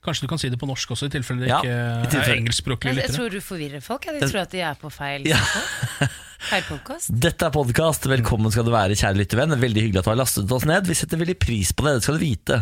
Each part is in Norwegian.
Kanskje du kan si det på norsk også, i tilfelle det Ja, ikke i tilfelle. er engelskspråklige Jeg, jeg lyttere. tror du forvirrer folk. Jeg. De tror at de er på feil Ja. Feil podkast. Dette er podkast. Velkommen skal du være, kjære lyttervenn. Veldig hyggelig at du har lastet oss ned. Vi setter veldig pris på det. Det skal du vite.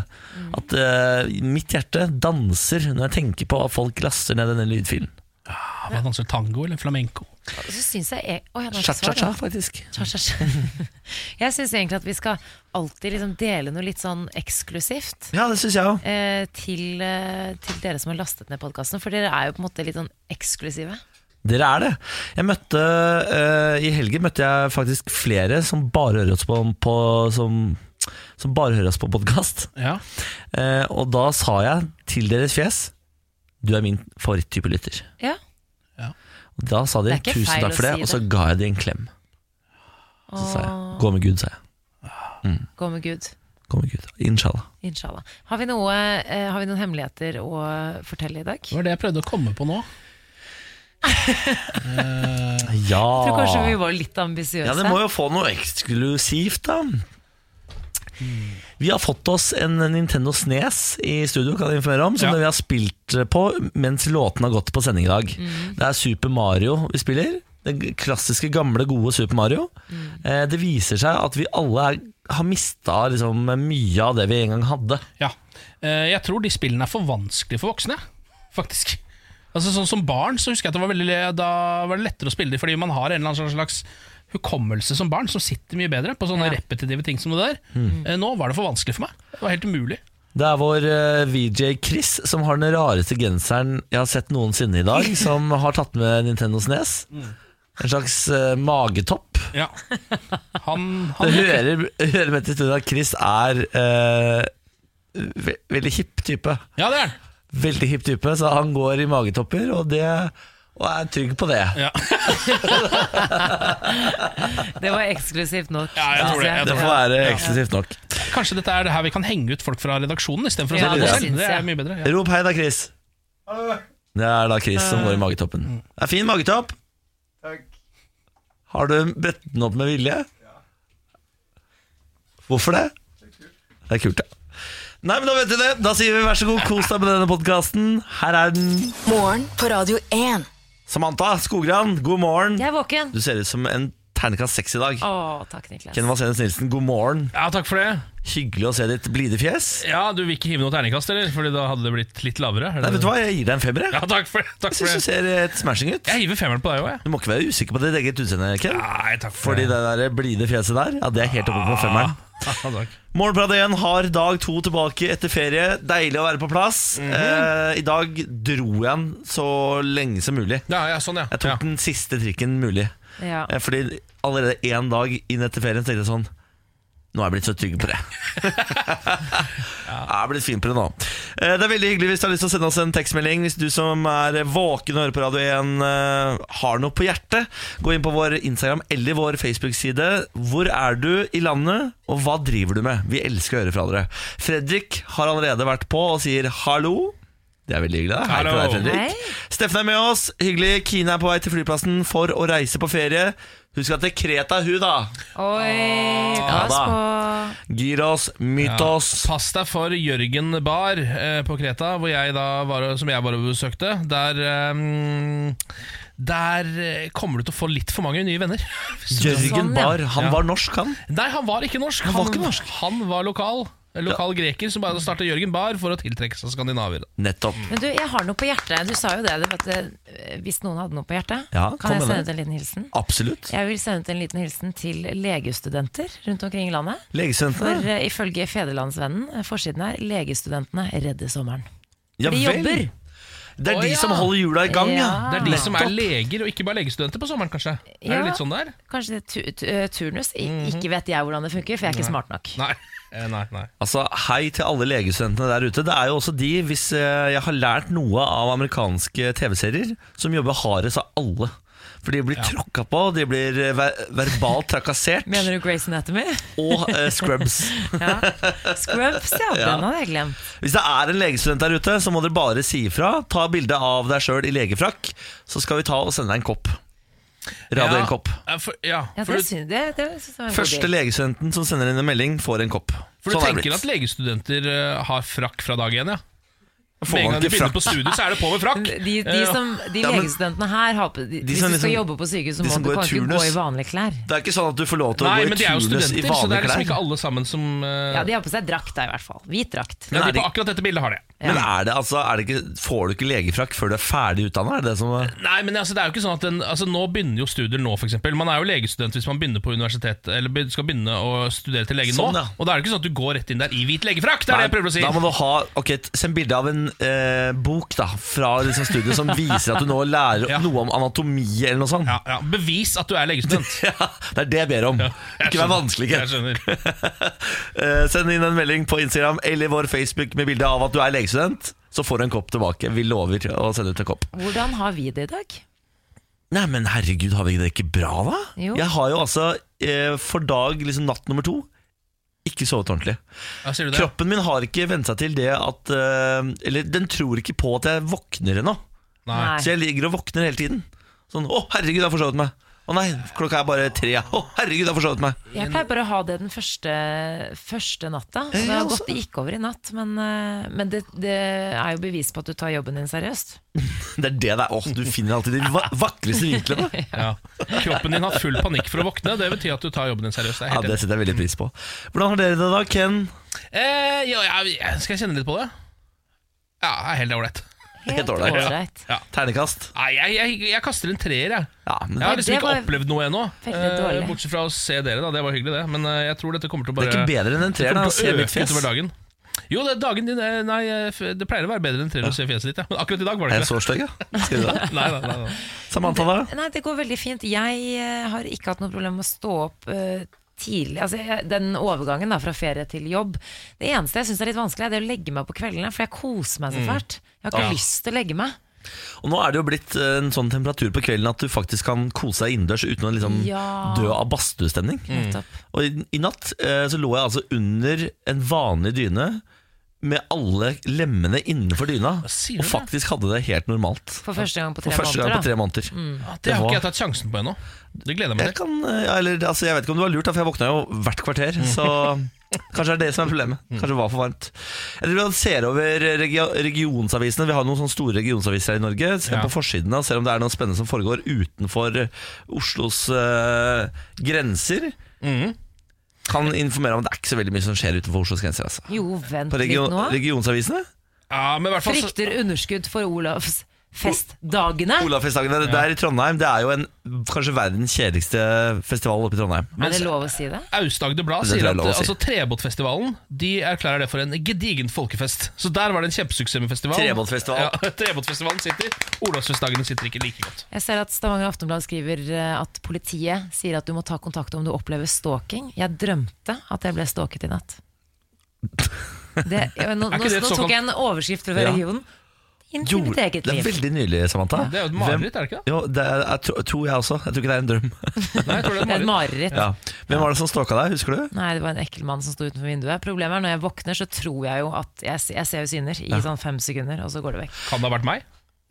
At eh, mitt hjerte danser når jeg tenker på at folk laster ned denne lydfilen. Ja, Ah, Hva danser tango eller flamenco? Og så syns jeg jeg- Å, jeg har ikke svar, Cha-cha-cha, da. faktisk. Tja, tja, tja. Jeg syns egentlig at vi skal alltid liksom dele noe litt sånn eksklusivt. Ja, det syns jeg òg. eh, Til, eh, til dere som har lastet ned podkasten, for dere er jo på en måte litt sånn eksklusive. Dere er det. Jeg møtte eh, I helgen møtte jeg faktisk flere som bare hører oss på, på som, som bare hører oss på podkast. Ja. og da sa jeg til deres fjes Du er min favoritttype lytter. Ja. Og da sa de Det er ikke tusen feil takk for å det, si og så ga jeg dem en klem. Så sa jeg Og gå med Gud, sa jeg. gå med Gud. Gå med Gud. Inshallah. Inshallah. Har vi, noe, eh, har vi noen hemmeligheter å fortelle i dag? Det var det jeg prøvde å komme på nå. Ja. Jeg tror kanskje vi var litt ambisiøse. ja, det må jo få noe eksklusivt, da. Vi har fått oss en Nintendo Snes i studio, kan jeg informere om, som Ja. vi har spilt eh, på mens låten har gått på sending i dag. Mm. Det er Super Mario vi spiller. Det klassiske, gamle, gode Super Mario. Mm. Eh, Det viser seg at vi alle er, har mista liksom, mye av det vi en gang hadde. Ja. Eh, Jeg tror de spillene er for vanskelige for voksne, faktisk. Altså sånn Som barn så husker jeg at det var veldig Da var det lettere å spille dem, fordi man har en eller annen slags hukommelse som barn som sitter mye bedre på sånne Ja. repetitive ting som det der. Eh, Nå var det for vanskelig for meg. Det var helt umulig. Det er vår eh, VJ Chris som har den rareste genseren jeg har sett noensinne i dag, som har tatt med Nintendo Snes. En slags eh, magetopp. Ja. Han, Det han hører, hører med til stunden at Chris er eh, ve veldig hipp type. Ja, det er han. Veldig hipp type, så han går i magetopper, og, det, og er trygg på det. Ja. Det var eksklusivt nok. Ja, jeg tror det. Jeg Det får være eksklusivt nok. Kanskje dette er det her vi kan henge ut folk fra redaksjonen istedenfor å Ja, sende det det selv. syns Det jeg. er mye bedre. Ja. Rop hei da, Chris. Det er da Chris som går Eh. i magetoppen. Mm. Det er fin magetopp. Har du bredt den opp med vilje? Hvorfor det? Det er kult, ja. Nei, men Da vet du det. Da sier vi vær så god, kos deg med denne podkasten. Her er den. Morgen på Radio 1. Samantha Skogran, god morgen. Jeg er våken. Du ser ut som en terningkast seks i dag. Å, takk, Niklas. Ken Vasenus Nilsen, god morgen. ja, takk for det. Hyggelig å se ditt blide fjes. Ja, Du vil ikke hive noe terningkast, eller? Fordi da hadde det blitt litt lavere? er det- Nei, vet du hva, jeg gir deg en femmer. jeg. Ja, takk for det. Takk Jeg for syns du det. ser helt smashing ut. Jeg hiver femmeren på deg òg, jeg. Du må ikke være usikker på ditt eget utseende, Ken. Nei, takk for Fordi det. det der blide fjeset der, ja, det er helt oppe på femmeren. Ja, takk. Morgenprat 1 Ah. har dag to tilbake etter ferie. Deilig å være på plass. eh, I dag dro jeg den så lenge som mulig. Ja, ja, sånn, ja. Jeg tok ja. den siste trikken mulig. Ja. Eh, Fordi allerede én dag inn etter ferien tenkte jeg sånn Nå er jeg blitt så trygg på det. Jeg er blitt fin på det nå. Eh, Det er veldig hyggelig hvis du har lyst til å sende oss en tekstmelding. Hvis du som er våken og hører på Radio 1 eh, har noe på hjertet, gå inn på vår Instagram eller vår Facebook-side. Hvor er du i landet, og hva driver du med? Vi elsker å høre fra dere. Fredrik har allerede vært på og sier hallo. Det er veldig hyggelig. da. Hei på Hallo. deg, Fredrik. Hei. Steffen er med oss. Hyggelig. Kine er på vei til flyplassen for å reise på ferie. Hun skal til Kreta, hun, da. Oi, Ja, pass da. på. Gyros, mytos. Pass deg for Jørgen bar eh, på Kreta, hvor jeg da var, som jeg bare besøkte. Der, eh, der eh, kommer du til å få litt for mange nye venner. Jørgen Sånn, ja. Bahr, han Ja. var norsk, han. Nei, han var ikke norsk. var ikke norsk. han var lokal. En lokal greker som bare startet Jørgen bar for å tiltrekke seg skandinaver. Nettopp. Men du, jeg har noe på hjertet. Du sa jo det, du, at eh, hvis noen hadde noe på hjertet, Ja, kom kan jeg med sende det. ut en liten hilsen? Absolutt. Jeg vil sende ut en liten hilsen til legestudenter rundt omkring i landet. For Legestudentene. eh, ifølge Federlandsvennen, eh, forsiden her, legestudentene redder sommeren. Ja De vel. jobber! Det er Å, de ja. som holder hjula i gang, ja. Ja. Det er de som er leger, og ikke bare legestudenter på sommeren, kanskje. Er det Ja. litt sånn der? Kanskje det er tu tu eh, turnus. I Mhm. ikke vet jeg hvordan det funker, for jeg er ikke smart nok. Nei. Eh, nei, nei. Altså, Hei til alle legestudentene der ute. Det er jo også de, hvis eh, jeg har lært noe av amerikanske TV-serier, som jobber hardest av alle. For de blir tråkka på, de blir eh, ver verbalt trakassert. Mener du Grace Anatomy? Og eh, scrubs. Ja. Scrubs, ja. Ja. Den hadde jeg glemt. Hvis det er en legestudent der ute, så må dere bare si ifra. Ta bilde av deg sjøl i legefrakk, så skal vi ta og sende deg en kopp. Radio Ja, en kopp. ja, for, ja, Ja, for det du, synes, det, det synes jeg var en god Første deal. legestudenten som sender inn en melding, får en kopp. for Sånn du er det tenker blitt. at legestudenter eh, har frakk fra dag én, ja? Får Med en man gang de ikke begynner frakk på studiet, så er det på med frakk. De, de, Eh, som, de Ja, men- legestudentene her har på, de, De Hvis som du skal liksom- jobbe på sykehus, så de må som du går i kan ikke gå turnus. i vanlige klær. Det er ikke sånn at du får lov til å Nei, gå men i de er jo turnus i studenter, så det vanlige er liksom klær. ikke alle sammen som eh, Ja, De har på seg drakt, da, i hvert fall. Hvit drakt. men Men er de det- på akkurat dette bildet har det. Ja. Men er det, altså, er det ikke, får du ikke legefrakk før du er ferdig utdanna? Er det det som er- Nei, men altså, det er jo ikke sånn at den, altså, Nå begynner jo studier nå, f.eks. Man er jo legestudent hvis man begynner på universitet Eller be- skal begynne å studere til lege Sånn, nå. ja. Og da er det ikke sånn at du går rett inn der i hvit legefrakk! Det er det jeg prøver å si. Da må du ha Ok, t- Send bilde av en eh, bok da fra liksom studiet som viser at du nå lærer Ja. noe om anatomi eller noe sånt. Ja, ja. Bevis at du er legestudent. Ja, det er det jeg ber om. Jeg ikke vær skjønner. vanskelig. Jeg skjønner. Eh, send inn en melding på Instagram eller vår Facebook med bilde av at du er legestudent. Så får du en kopp tilbake. Vi lover å sende ut en kopp. Hvordan har vi det i dag? Nei, men herregud, har vi det ikke bra, da? Jo. Jeg har jo altså eh, for dag, liksom natt nummer to, ikke sovet ordentlig. Ja, sier du det? Kroppen min har ikke vent seg til det at eh, Eller den tror ikke på at jeg våkner ennå. Nei. Så jeg ligger og våkner hele tiden. Sånn 'Å, herregud, jeg har forsovet meg'. 'Å nei, klokka er bare tre'. ja. 'Å, herregud, jeg har forsovet meg'. Jeg pleier bare å ha det den første, første natta. og Det Ja, har altså. gått, det gikk over i natt, men, eh, men det, det er jo bevis på at du tar jobben din seriøst. Det er det det er. Åh, du finner alltid de va vakreste vinklene. Ja. Kroppen din har full panikk for å våkne. Det betyr at du tar jobben din seriøst. Det er Ja, helt det setter jeg veldig pris på. Hvordan har dere det da, Ken? Eh, ja, ja, skal jeg kjenne litt på det? Ja, det er helt ålreit. Helt ålreit. ålreit. Ternekast? Nei, jeg, jeg, jeg kaster en treer, jeg. Ja, men Jeg har liksom det ikke var opplevd noe ennå. veldig Eh, dårlig. Bortsett fra å se dere, da. Det var hyggelig, det. Men eh, jeg tror dette kommer til å det bare er ikke bedre enn en treer. da, kommer å se til å mitt øke fjes. utover dagen. Jo, det, er dagen din eh, Nei, eh, f- det pleier å være bedre enn treer å se fjeset ditt, ja. Men akkurat i dag var Er det jeg ikke det. så stygg, ja? Skal du det? Nei, nei, nei, nei. Samantha, da? Nei, det går veldig fint. Jeg eh, har ikke hatt noe problem med å stå opp eh, tidlig. Altså, jeg, den overgangen da, fra ferie til jobb. Det eneste jeg syns er litt vanskelig, er det å legge meg på kveldene, for jeg koser meg så Mm. fælt. Jeg har ikke Ja. lyst til å legge meg. Og nå er det jo blitt eh, en sånn temperatur på kvelden at du faktisk kan kose deg innendørs uten å liksom Ja. Mm. dø av badstuestemning. Nettopp. Og i, i natt eh, så lå jeg altså under en vanlig dyne med alle lemmene innenfor dyna, sier og du? faktisk hadde det helt normalt. For første gang på For tre første gang på måneder. tre Mm. måneder. Ja, Det har var- ikke jeg tatt sjansen på ennå. Det gleder jeg meg Jeg, til. kan, ja, eller, altså, jeg vet ikke om det var lurt, da, for jeg våkna jo hvert kvarter. Så kanskje det er det som er problemet. Kanskje det var for varmt. Jeg driver og ser over regio regionsavisene. Vi har noen sånne store regionsaviser her i Norge. Se Ja. på forsiden og ser om det er noe spennende som foregår utenfor eh, Oslos eh, grenser. Kan informere om at det er ikke så veldig mye som skjer utenfor Oslos grenser. Altså. Da. Jo, vent På region litt nå. regionsavisene? Ja, men i hvert fall så- Frykter underskudd for Olavs festdagene. Olafestdagene det der i Trondheim. Det er jo en, kanskje verdens kjedeligste festival oppe i Trondheim. Er det lov å si det? Aust-Agder Blad Det tror sier jeg at er lov å si. altså, Trebåtfestivalen De erklærer det for en gedigen folkefest. Så der var det en kjempesuksess med festivalen. Trebåtfestival. Ja, Trebåtfestivalen sitter. Olavsfestdagene sitter ikke like godt. Jeg ser at Stavanger Aftenblad skriver eh, at politiet sier at du må ta kontakt om du opplever stalking. Jeg drømte at jeg ble stalket i natt. Det, ja, nå, Er ikke nå, det et nå tok jeg en overskrift fra Ja. regionen. Inn Jo, til mitt eget Det er liv. veldig nylig, Samantha. Det er jo et Hvem- mareritt, er det ikke det? Jo, det er, jeg tro, tror jeg også. Jeg tror ikke det er en drøm. Nei, jeg tror det er Det er et et mareritt. mareritt. Ja. Hvem var det som stalka deg, husker du? Nei, det var en ekkel mann som sto utenfor vinduet. Problemet er når jeg våkner, så tror jeg jo at jeg, se- jeg ser jo syner i sånn fem sekunder, og så går det vekk. Kan det ha vært meg?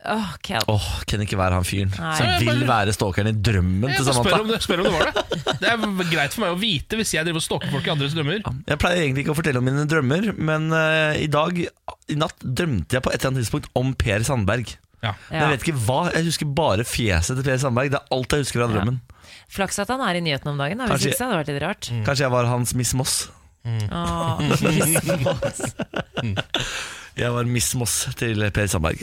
Åh, Kel. Åh, Kan ikke være han fyren Nei. som Jeg vil være stalkeren i drømmen Jeg til bare spør Samantha. om, det, spør om det var det. Det er greit for meg å vite hvis jeg driver og stalker folk i andres drømmer. Jeg pleier egentlig ikke å fortelle om mine drømmer, men eh, i dag, i natt, drømte jeg på et eller annet tidspunkt om Per Sandberg. Ja. Men jeg vet ikke hva, jeg husker bare fjeset til Per Sandberg. Det er alt jeg husker fra drømmen. Mm. Flaks at han er i nyhetene om dagen, da, hvis Kanskje- Mm. ikke så hadde det vært litt rart. Kanskje jeg var hans Miss Moss. Åh, Jeg var Miss Moss til Per Sandberg.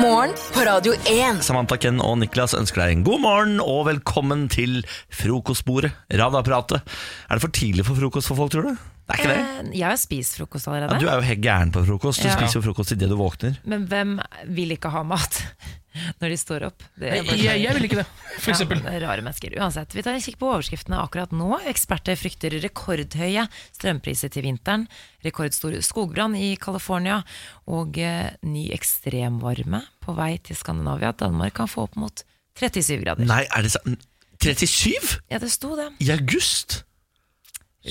Morgen på Radio 1. Samantha, Ken og Niklas ønsker deg en god morgen og velkommen til frokostbordet, radioapparatet. Er det for tidlig for frokost for folk, tror du? Det er ikke det. eh, jeg har spist frokost Ja, allerede. du er jo helt gæren på frokost. Du Ja. spiser jo frokost idet du våkner. Men hvem vil ikke ha mat når de står opp? Det er bare- Jeg, jeg vil ikke det, for eksempel. Ja, men rare mennesker. Uansett, vi tar en kikk på overskriftene akkurat nå. Eksperter frykter rekordhøye strømpriser til vinteren, rekordstor skogbrann i California og eh, ny ekstremvarme på vei til Skandinavia. Danmark kan få opp mot 37 grader. Nei, er det sant? 37? Ja, det sto det. I august?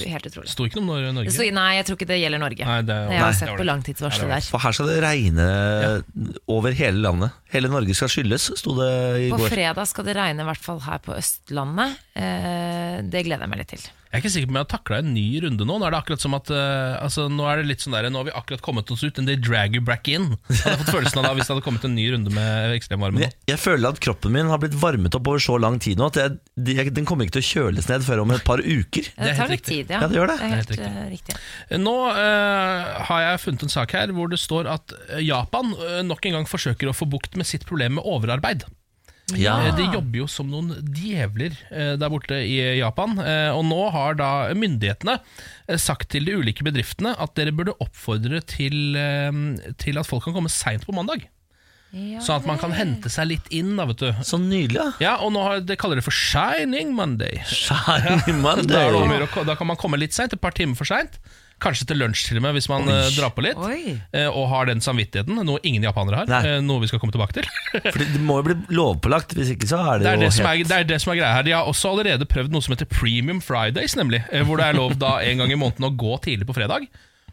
Helt utrolig. Sto ikke noe om Nor- Det Norge. sto, nei, jeg tror ikke det gjelder Norge. Nei, det er jo- jeg Nei. har sett på langtidsvarselet der. For her skal det regne over hele landet. Hele Norge skal skylles, sto det i På går. fredag skal det regne, i hvert fall her på Østlandet. Eh, det gleder jeg meg litt til. Jeg er ikke sikker på om jeg har takla en ny runde nå. Nå er det akkurat som at eh, altså, Nå er det litt sånn der, nå har vi akkurat kommet oss ut, and they drag you back in. Hadde jeg fått følelsen av da hvis det hadde kommet en ny runde med ekstremvarme Men jeg, nå. jeg føler at kroppen min har blitt varmet opp over så lang tid nå at jeg, de- jeg, den kommer ikke til å kjøles ned før om et par uker. Ja, det, er tar helt litt riktig. tid, ja. Ja, det gjør det. Det er helt Det er helt eh, riktig. Nå eh, har jeg funnet en sak her hvor det står at eh, Japan eh, nok en gang forsøker å få bukt med sitt problem med overarbeid. Ja. Eh, De jobber jo som noen djevler eh, der borte i Japan. eh, Og nå har da myndighetene eh, sagt til de ulike bedriftene at dere burde oppfordre til, eh, til at folk kan komme seint på mandag. Ja, Sånn at man kan hente seg litt inn, da, vet du. Så nydelig, da. Ja, og nå har, det kaller det for shining monday. Shining Da, er det om å Monday. gjøre å ko- da kan man komme litt seint, et par timer for seint. Kanskje til lunsj til og med, hvis man eh, drar på litt. Oi. eh, Og har den samvittigheten, noe ingen japanere har. Nei. eh, Noe vi skal komme tilbake til. For det må jo bli lovpålagt, hvis ikke så er det, Det er jo det, som er, helt- det er det som er greia her. De har også allerede prøvd noe som heter Premium Fridays, nemlig. eh, Hvor det er lov da en gang i måneden å gå tidlig på fredag.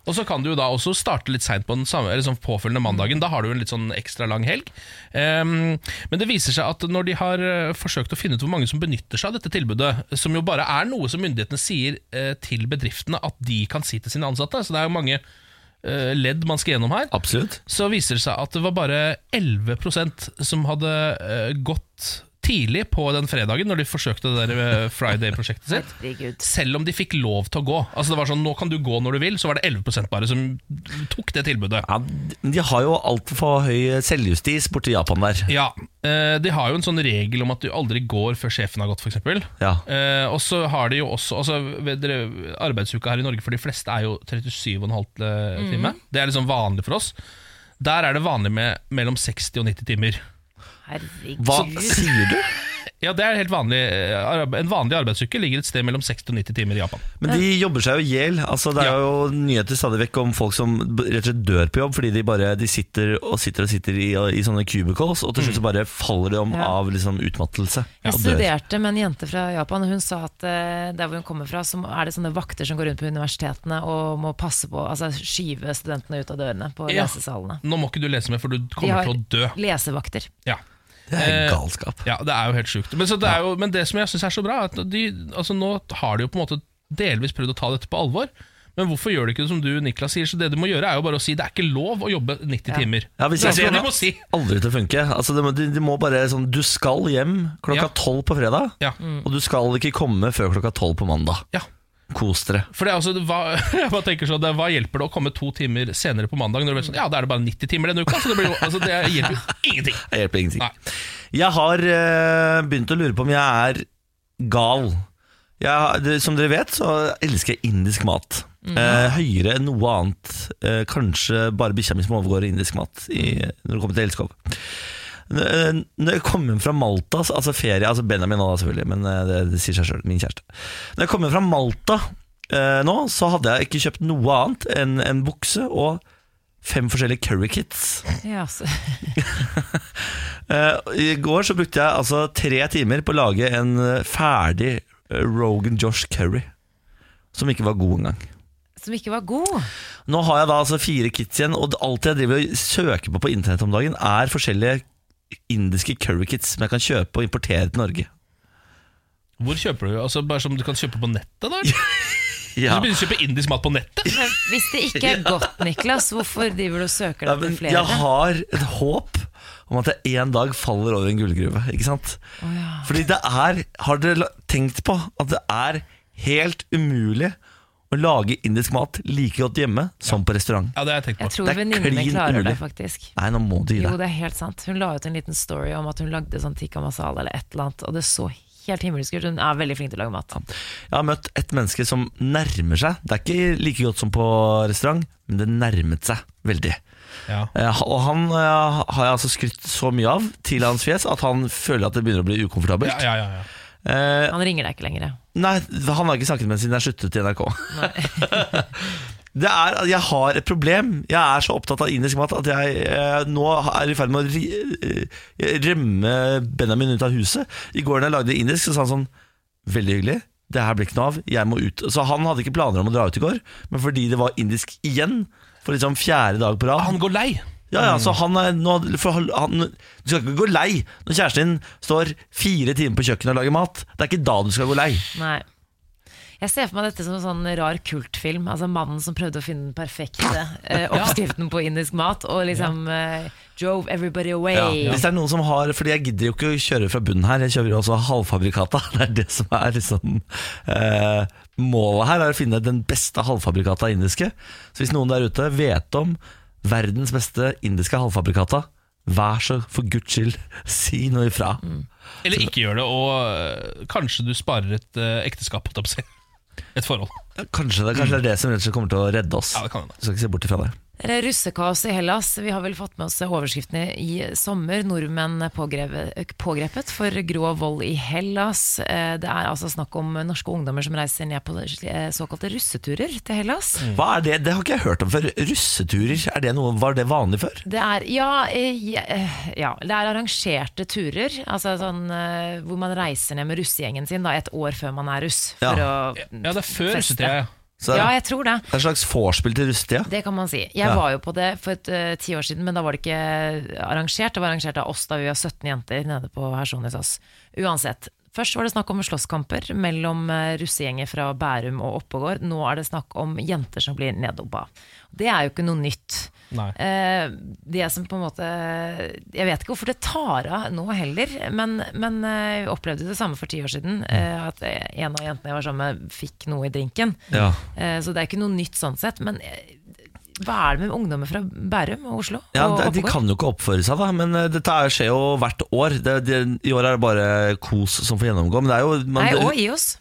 Og så kan du jo da også starte litt seint på den samme, eller sånn påfølgende mandagen. Da har du jo en litt sånn ekstra lang helg. Ehm, men det viser seg at når de har eh, forsøkt å finne ut hvor mange som benytter seg av dette tilbudet, som jo bare er noe som myndighetene sier eh, til bedriftene at de kan si til sine ansatte, så det er jo mange eh, ledd man skal gjennom her Absolutt. så viser det seg at det var bare 11 som hadde eh, gått tidlig på den fredagen når de forsøkte det der eh, Friday-prosjektet sitt. Herregud. Selv om de fikk lov til å gå. Altså det var sånn, Nå kan du gå når du vil, så var det 11 bare som tok det tilbudet. Ja, de har jo altfor høy selvjustis borti Japan der. Ja, eh, De har jo en sånn regel om at du aldri går før sjefen har gått, f.eks. Ja. Eh, og så har de jo også altså, ved dere, Arbeidsuka her i Norge for de fleste er jo 37,5 time. Det er liksom vanlig for oss. Der er det vanlig med mellom 60 og 90 timer. Herregud. Hva sier du? Ja, det er helt vanlig eh, arbe- En vanlig arbeidsuke ligger et sted mellom 60 og 90 timer i Japan. Men de jobber seg jo i hjel. Altså, det er Eh. Ja. jo nyheter stadig vekk om folk som b- rett og slett dør på jobb fordi de bare de sitter og sitter og sitter i, i sånne cubicles, og til slutt så Mm. bare faller de om Ja. av liksom utmattelse. Jeg og dør. studerte med en jente fra Japan, og hun sa at eh, der hvor hun kommer fra, så må- er det sånne vakter som går rundt på universitetene og må passe på, altså skyve studentene ut av dørene på Ja. lesesalene. Nå må ikke du lese mer, for du De kommer har til å dø. Lesevakter. Ja. Det er Eh, galskap. ja, det er jo helt sjukt. Men, så det, er jo, men det som jeg syns er så bra, er at de, altså nå har de jo på en måte delvis prøvd å ta dette på alvor. Men hvorfor gjør de ikke det som du Niklas sier? Så det de må gjøre, er jo bare å si det er ikke lov å jobbe 90 timer. Ja, hvis det jeg er skal- det de må si. Aldri til å funke. Altså, det må, de, de må bare sånn Du skal hjem Ja. Mm. klokka tolv på fredag, Ja. Mm. og du skal ikke komme før klokka tolv på mandag. Ja. Kos dere. For det er altså, hva, jeg bare tenker sånn, det, er- hva hjelper det å komme to timer senere på mandag når du vet sånn, ja, da er det bare 90 timer denne uka? Så det, blir jo, altså, det hjelper jo ingenting. Det hjelper ingenting. Nei. Jeg har eh, begynt å lure på om jeg er gal. Jeg, det, som dere vet, så elsker jeg indisk mat. Eh, høyere enn noe annet. Eh, kanskje bare bikkja mi som overgår indisk mat i, når det kommer til elskov. N- eh, Når jeg kom hjem fra Malta, så- altså ferie Altså Benjamin nå, da, selvfølgelig, men eh, det, det sier seg sjøl. Min kjæreste. Når jeg kom hjem fra Malta eh, nå, så hadde jeg ikke kjøpt noe annet enn en bukse og fem forskjellige curry kits. Ja, så, Eh, I går så brukte jeg altså tre timer på å lage en eh, ferdig eh, Rogan Josh Kerry. Som ikke var god engang. som ikke var god. Nå har jeg da altså fire kits igjen, og alt jeg driver og søker på på internett om dagen, er forskjellige indiske curry kits som jeg kan kjøpe og importere til Norge. Hvor kjøper du? Altså, bare som du kan kjøpe på nettet? da? eller? Ja. Du begynner å kjøpe indisk mat på nettet? Men hvis det ikke er godt, Niklas, hvorfor driver du og søker Ja, deg men til flere? jeg har et håp om at jeg en dag faller over en gullgruve. Ikke sant? Fordi det er Har dere la- tenkt på at det er helt umulig å lage indisk mat like godt hjemme som på restaurant? Ja, det har jeg tenkt Jeg på. tror Det er venninnen min klin klarer det, umulig. faktisk. Nei, nå må du gi Jo, deg. det er helt sant. Hun la ut en liten story om at hun lagde sånn tikka masala eller et eller annet, og det så helt himmelsk ut. Hun er veldig flink til å lage mat. Jeg har møtt et menneske som nærmer seg. Det er ikke like godt som på restaurant, men det nærmet seg veldig. Ja. Eh, Og han eh, har jeg altså skrytt så mye av til hans fjes at han føler at det begynner å bli ukomfortabelt. Ja, ja, ja, ja. Eh, Han ringer deg ikke lenger. Nei, han har ikke snakket med meg siden jeg sluttet i NRK. Det er at jeg har et problem. Jeg er så opptatt av indisk mat at jeg eh, nå er i ferd med å ri, eh, remme Benjamin ut av huset. I går da jeg lagde indisk, så sa han sånn Veldig hyggelig. Det her blir ikke noe av. Jeg må ut. Så han hadde ikke planer om å dra ut i går, men fordi det var indisk igjen, for liksom fjerde dag på rad Han går lei. ja, ja, så han er nå, for han, han, Du skal ikke gå lei når kjæresten din står fire timer på kjøkkenet og lager mat. Det er ikke da du skal gå lei. Nei. Jeg ser for meg dette som en sånn rar kultfilm. Altså Mannen som prøvde å finne den perfekte eh, oppskriften på indisk mat, og liksom eh, drove everybody away. Hvis det er noen som har Fordi jeg gidder jo ikke å kjøre fra bunnen her, jeg kjører jo også halvfabrikata. Det er det som er liksom eh, Målet her er å finne den beste halvfabrikata indiske. Så hvis noen der ute vet om verdens beste indiske halvfabrikata, vær så for guds skyld, si noe ifra. Mm. Eller ikke gjør det, og øh, kanskje du sparer et øh, ekteskap. holdt jeg på å si. Et forhold. Ja, Kanskje det, kanskje det er det som rett og slett kommer til å redde oss. Ja, det kan hende. Du skal ikke se bort ifra det. Eh, Russekaos i Hellas. Vi har vel fått med oss overskriftene i sommer. Nordmenn pågrepet, pågrepet for grov vold i Hellas. Eh, Det er altså snakk om norske ungdommer som reiser ned på eh, såkalte russeturer til Hellas. Mm. Hva er det? Det har ikke jeg hørt om før. Russeturer, er det noe, var det vanlig før? Det er, ja, eh, ja, eh, ja, det er arrangerte turer, altså sånn, eh, hvor man reiser ned med russegjengen sin da, et år før man er russ. For Ja. å, Ja, det er før Feste. russetida. ja. Så ja, det jeg tror det. er en slags vorspiel til russetida. Det kan man si. Jeg Ja. var jo på det for et, eh, ti år siden, men da var det ikke arrangert. Det var arrangert av oss da vi var 17 jenter nede på Hersonitas. Uansett. Først var det snakk om slåsskamper mellom eh, russegjenger fra Bærum og Oppegård. Nå er det snakk om jenter som blir neddobba. Det er jo ikke noe nytt. Nei. Eh, det som på en måte Jeg vet ikke hvorfor det tar av nå heller, men, men eh, jeg opplevde det samme for ti år siden. eh, At en av jentene jeg var sammen med, fikk noe i drinken. Ja. Eh, Så det er ikke noe nytt sånn sett. Men eh, hva er det med ungdommer fra Bærum og Oslo? Ja, de, og de Oppegård? kan jo ikke oppføre seg, da, men eh, dette er- skjer jo hvert år. Det, det, I år er det bare kos som får gjennomgå. Men det er jo man, Hm? Nei, og IOS.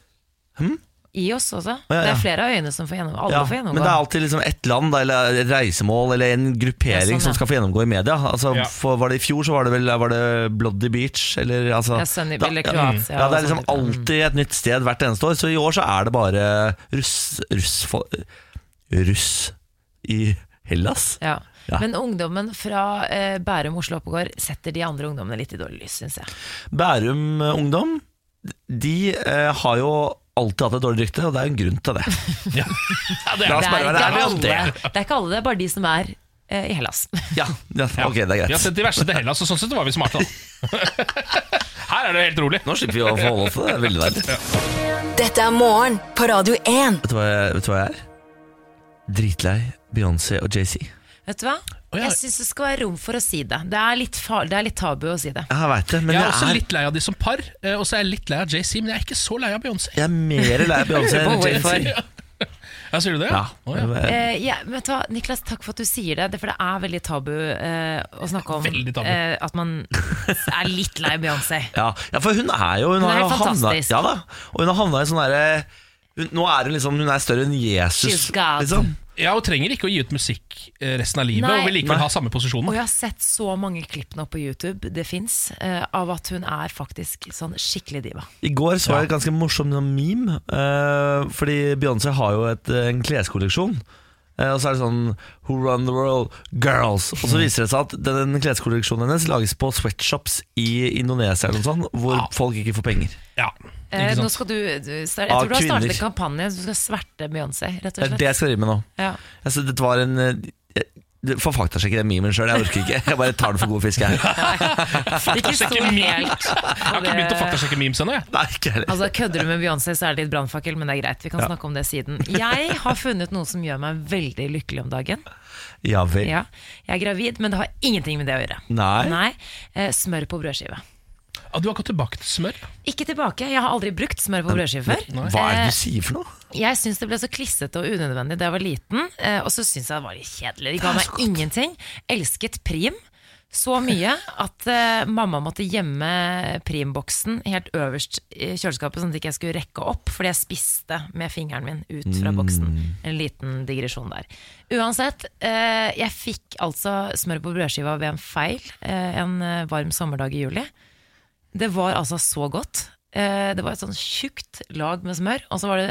IOS også. ja, ja. Det er flere av øyene som får gjennomgå. Alle ja, får men gjennomgå. det er alltid liksom ett land da, eller et reisemål eller en Ja, gruppering sånn, som ja. skal få gjennomgå i media. Altså, Ja. for, var det I fjor så var det vel var det Bloody Beach eller altså, Ja, Sunny- da- eller ja, Kroatia, Ja, det og er liksom sånn type. alltid et nytt sted hvert eneste år. Så i år så er det bare russ Russ, fol- russ i Hellas. ja. Ja. Men ungdommen fra eh, Bærum, Oslo og Oppegård setter de andre ungdommene litt i dårlig lys, syns jeg. Bærum eh, Ungdom de eh, har jo alltid hatt et dårlig rykte, og det er jo en grunn til det. Ja. Ja, det er La oss Det det. bare er, være ikke ærlige om alle, det det. er ikke alle, det er bare de som er eh, i Hellas. Ja, ja ok, det er Vi har greit. sett de verste til Hellas, og sånn sett var vi smarte. da Her er det helt rolig. Nå slipper vi å forholde oss til det. det er Veldig deilig. Dette er morgen på Radio 1. Vet du hva jeg, vet du hva jeg er? Dritlei Beyoncé og Jay-Z. Vet du hva? ja. Jeg syns det skal være rom for å si det. Det er litt, far det er litt tabu å si det. Jeg veit det, men Jeg jeg er også er, litt lei av de som par, eh, og så er jeg litt lei av JC, men jeg er ikke så lei av Beyoncé. jeg er mer lei av Beyoncé enn Lurer på hvorfor. Jay-Z. Ja, sier du det? Ja. Å, ja. Eh, ja, men vet du hva, Niklas, takk for at du sier det, det for det er veldig tabu eh, å snakke om Veldig tabu. eh, at man er litt lei Beyoncé. Ja, ja, for hun er jo Hun, Hun har er jo havna, fantastisk. ja, da, og hun har havna i sånn derre hun- Nå er hun liksom Hun er større enn Jesus. She's God. Liksom. Ja, og trenger ikke å gi ut musikk eh, resten av livet, Nei. og vil likevel Nei. ha samme Og posisjonen. jeg har sett så mange klipp nå på YouTube, det fins, eh, av at hun er faktisk sånn skikkelig diva. I går så jeg et ganske morsomt sånn meme, eh, fordi Beyoncé har jo et, eh, en kleskolleksjon. Eh, og så er det sånn Who run the world? Girls! Og så Mm. viser det seg at den, den kleskolleksjonen hennes lages på sweatshops i Indonesia, eller noe sånt, hvor Wow. folk ikke får penger. Ja, Eh, ikke nå sant? skal du, du jeg Av tror du har startet kvinner. en kampanje som skal sverte Beyoncé, Det rett og er det slett. jeg skal drive med nå. Ja. Altså, dette var en eh, jeg- Få faktasjekke den memen sjøl, jeg orker ikke. Jeg bare tar den for god fisk, jeg. Ikke stå Faktasjekke meme. helt Jeg har ikke begynt å eh, faktasjekke memes ennå, jeg. Nei, ikke heller. Altså, kødder du med Beyoncé, så er det litt brannfakkel, men det er greit. Vi kan snakke om det siden. Jeg har funnet noe som gjør meg veldig lykkelig om dagen. Ja vel. Ja, jeg er gravid, men det har ingenting med det å gjøre. Nei. eh, smør på brødskive. Ja, du har gått tilbake til smør. Ikke tilbake, jeg har aldri brukt smør på brødskive før. Hva er det Eh, du sier for noe? Jeg syns det ble så klissete og unødvendig da jeg var liten, eh, og så syns jeg det var litt kjedelig. Det ga meg ingenting. Elsket prim. Så mye at eh, mamma måtte gjemme primboksen helt øverst i kjøleskapet, sånn at jeg ikke skulle rekke opp, fordi jeg spiste med fingeren min ut fra boksen. En liten digresjon der. Uansett, eh, jeg fikk altså smør på brødskiva ved en feil eh, en eh, varm sommerdag i juli. Det var altså så godt eh, Det var et sånn tjukt lag med smør, og så var det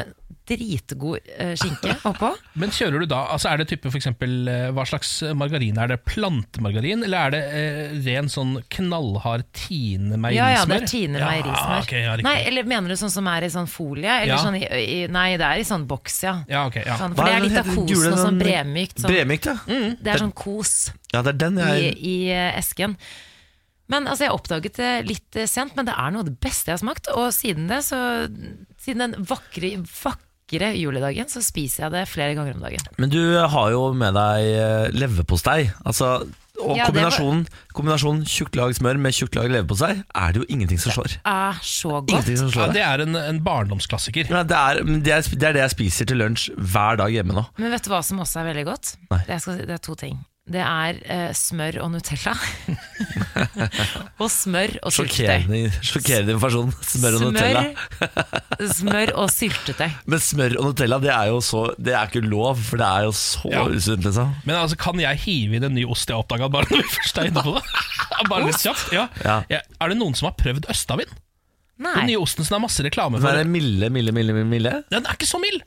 dritgod eh, skinke oppå. Men kjører du da, altså er det type for eksempel, eh, Hva slags margarin er det? Plantemargarin, eller er det eh, ren sånn knallhard Tine meierismør? Ja, ja, det er Tine meierismør. Ja, ok, ja, riktig. nei, eller mener du sånn som er i sånn folie? Eller Ja. sånn i, i, nei, det er i sånn boks, ja. ja, ok, ja. Sånn, Hva for er det er den litt av heter? kosen Gule, og sånn den- bremykt. Sånn. Bremyk, ja. Mm, det er sånn kos ja. Det er den i, jeg i eh, esken. Men altså, Jeg oppdaget det litt eh, sent, men det er noe av det beste jeg har smakt. Og siden det, så Siden den vakre, vakre juledagen, så spiser jeg det flere ganger om dagen. Men du har jo med deg eh, leverpostei. Altså, og Ja, det var- kombinasjonen, kombinasjonen tjukt lag smør med tjukt lag leverpostei er det jo ingenting som slår. Er så godt. Ingenting som ja, slår det. Det er en, en barndomsklassiker. Ja, det, er, men det, er, det er det jeg spiser til lunsj hver dag hjemme nå. Men vet du hva som også er veldig godt? Nei. Det, jeg skal, si- det er to ting. Det er eh, smør og Nutella. og smør og syltetøy. Sjokkerende, sjokkerende informasjon. Smør og Nutella. smør og syltetøy. Men smør og Nutella det er jo så, det er ikke lov, for det er jo så Ja. usunt. liksom Men altså, kan jeg hive inn en ny ost jeg har oppdaga bare når vi først er inne på det? Bare litt kjapt, ja. Ja. Ja. Er det noen som har prøvd østavind? Den Nei. nye osten som det er masse reklame Den for. er milde, milde, milde. milde, milde. Den er ikke så mild!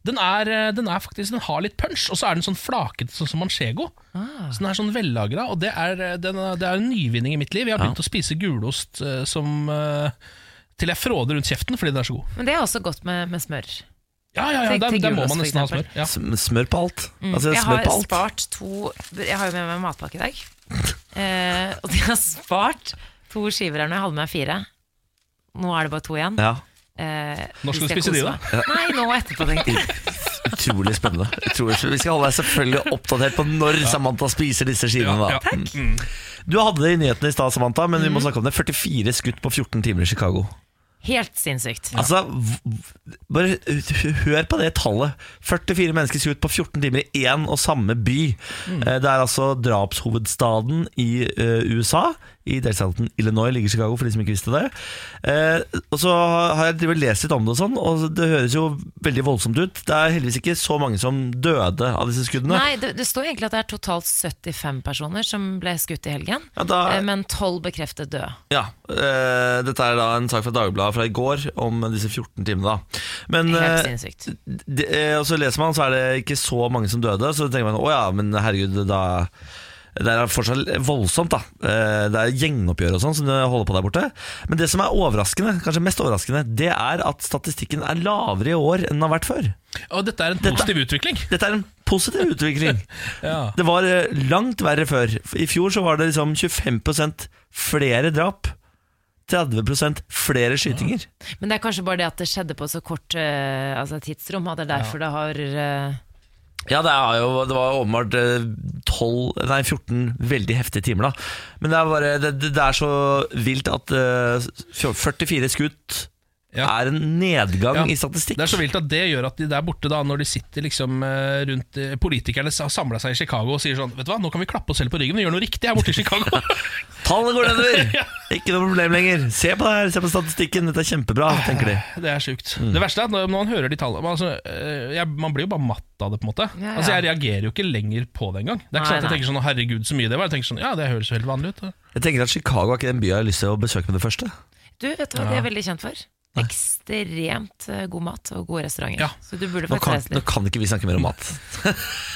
Den, er, eh, den, er faktisk, den har litt punch, og så er den sånn flaket sånn som manchego. Ah. Så den er sånn vellagra, og det er, eh, den er, det er en nyvinning i mitt liv. Jeg har Ja. begynt å spise gulost eh, som eh, til jeg fråder rundt kjeften fordi den er så god. Men det er også godt med, med smør. Ja, ja, ja, Til- Der, til der må man gulost, for nesten ha eksempel. smør. Ja. Sm- Smør på alt. Altså, Mm. Jeg smør har på alt. spart to Jeg har jo med meg matpakke i dag. Eh, og de har spart to skiver her nå. Jeg hadde med meg fire. Nå er det bare to igjen. Ja, Eh, Når skal du hvis jeg spise de, koser da? meg. Nei, nå etterpå, tenkte jeg. Utrolig spennende. Utrolig spennende. Vi skal holde deg selvfølgelig oppdatert på når Samantha spiser disse skivene. Ja, da. ja. Mm. Mm. Du hadde det i nyhetene i stad, Samantha, men vi må snakke om det. 44 skutt på 14 timer i Chicago. Helt sinnssykt. Altså, v- v- bare h- hør på det tallet. 44 mennesker skutt på 14 timer i én og samme by. Eh, Det er altså drapshovedstaden i eh, USA. I delstaten Illinois ligger Chicago, for de som ikke visste det. Eh, og så har jeg drevet og lest litt om det, og sånn Og det høres jo veldig voldsomt ut. Det er heldigvis ikke så mange som døde av disse skuddene. Nei, det, det står egentlig at det er totalt 75 personer som ble skutt i helgen. Ja, da, eh, Men 12 bekreftet døde. ja, eh, dette er da en sak fra Dagbladet fra i går om disse 14 timene. da Men Helt eh, sinnssykt. det, eh, og så leser man, så er det ikke så mange som døde. Så tenker man å ja, men herregud, da det er fortsatt voldsomt, da. Eh, Det er gjengoppgjør og sånn som det holder på der borte. Men det som er overraskende, kanskje mest overraskende, det er at statistikken er lavere i år enn den har vært før. Og dette er en positiv utvikling. Dette er en positiv utvikling. Ja. Det var eh, langt verre før. I fjor så var det liksom 25 flere drap. 30 flere skytinger. Men det er kanskje bare det at det skjedde på så kort eh, altså, tidsrom, at det er derfor det har eh, Ja, det, er jo, det var åpenbart eh, 12, nei, 14 veldig heftige timer. da Men det er, bare, det, det- det er så vilt at eh, 44 skutt Ja. er en nedgang Ja. i statistikk. Det er så vilt at det gjør at de der borte, da når de sitter liksom eh, rundt eh, Politikerne har samla seg i Chicago og sier sånn Vet du hva, nå kan vi klappe oss selv på ryggen, vi gjør noe riktig her borte i Chicago. Tallene går nedover! Ikke noe problem lenger. Se på det her, se på statistikken, dette er kjempebra, tenker de. det er sjukt. Det verste er at når når man hører de tallene man, altså, eh, jeg, man blir jo bare matt av det, på en måte. Ja, ja. Altså Jeg reagerer jo ikke lenger på det engang. Det er ikke sånn Nei, at jeg nei. tenker sånn herregud, så mye det var. Jeg tenker sånn, ja, det høres jo helt vanlig ut. da. Jeg tenker at Chicago er ikke den byen jeg har lyst til å besøke med det første. Du, vet du hva de er veldig kjent for? Ekstremt eh, god mat og gode restauranter. Ja. Så du burde Nå faktisk kan, reise nå litt. kan ikke vi snakke mer om mat.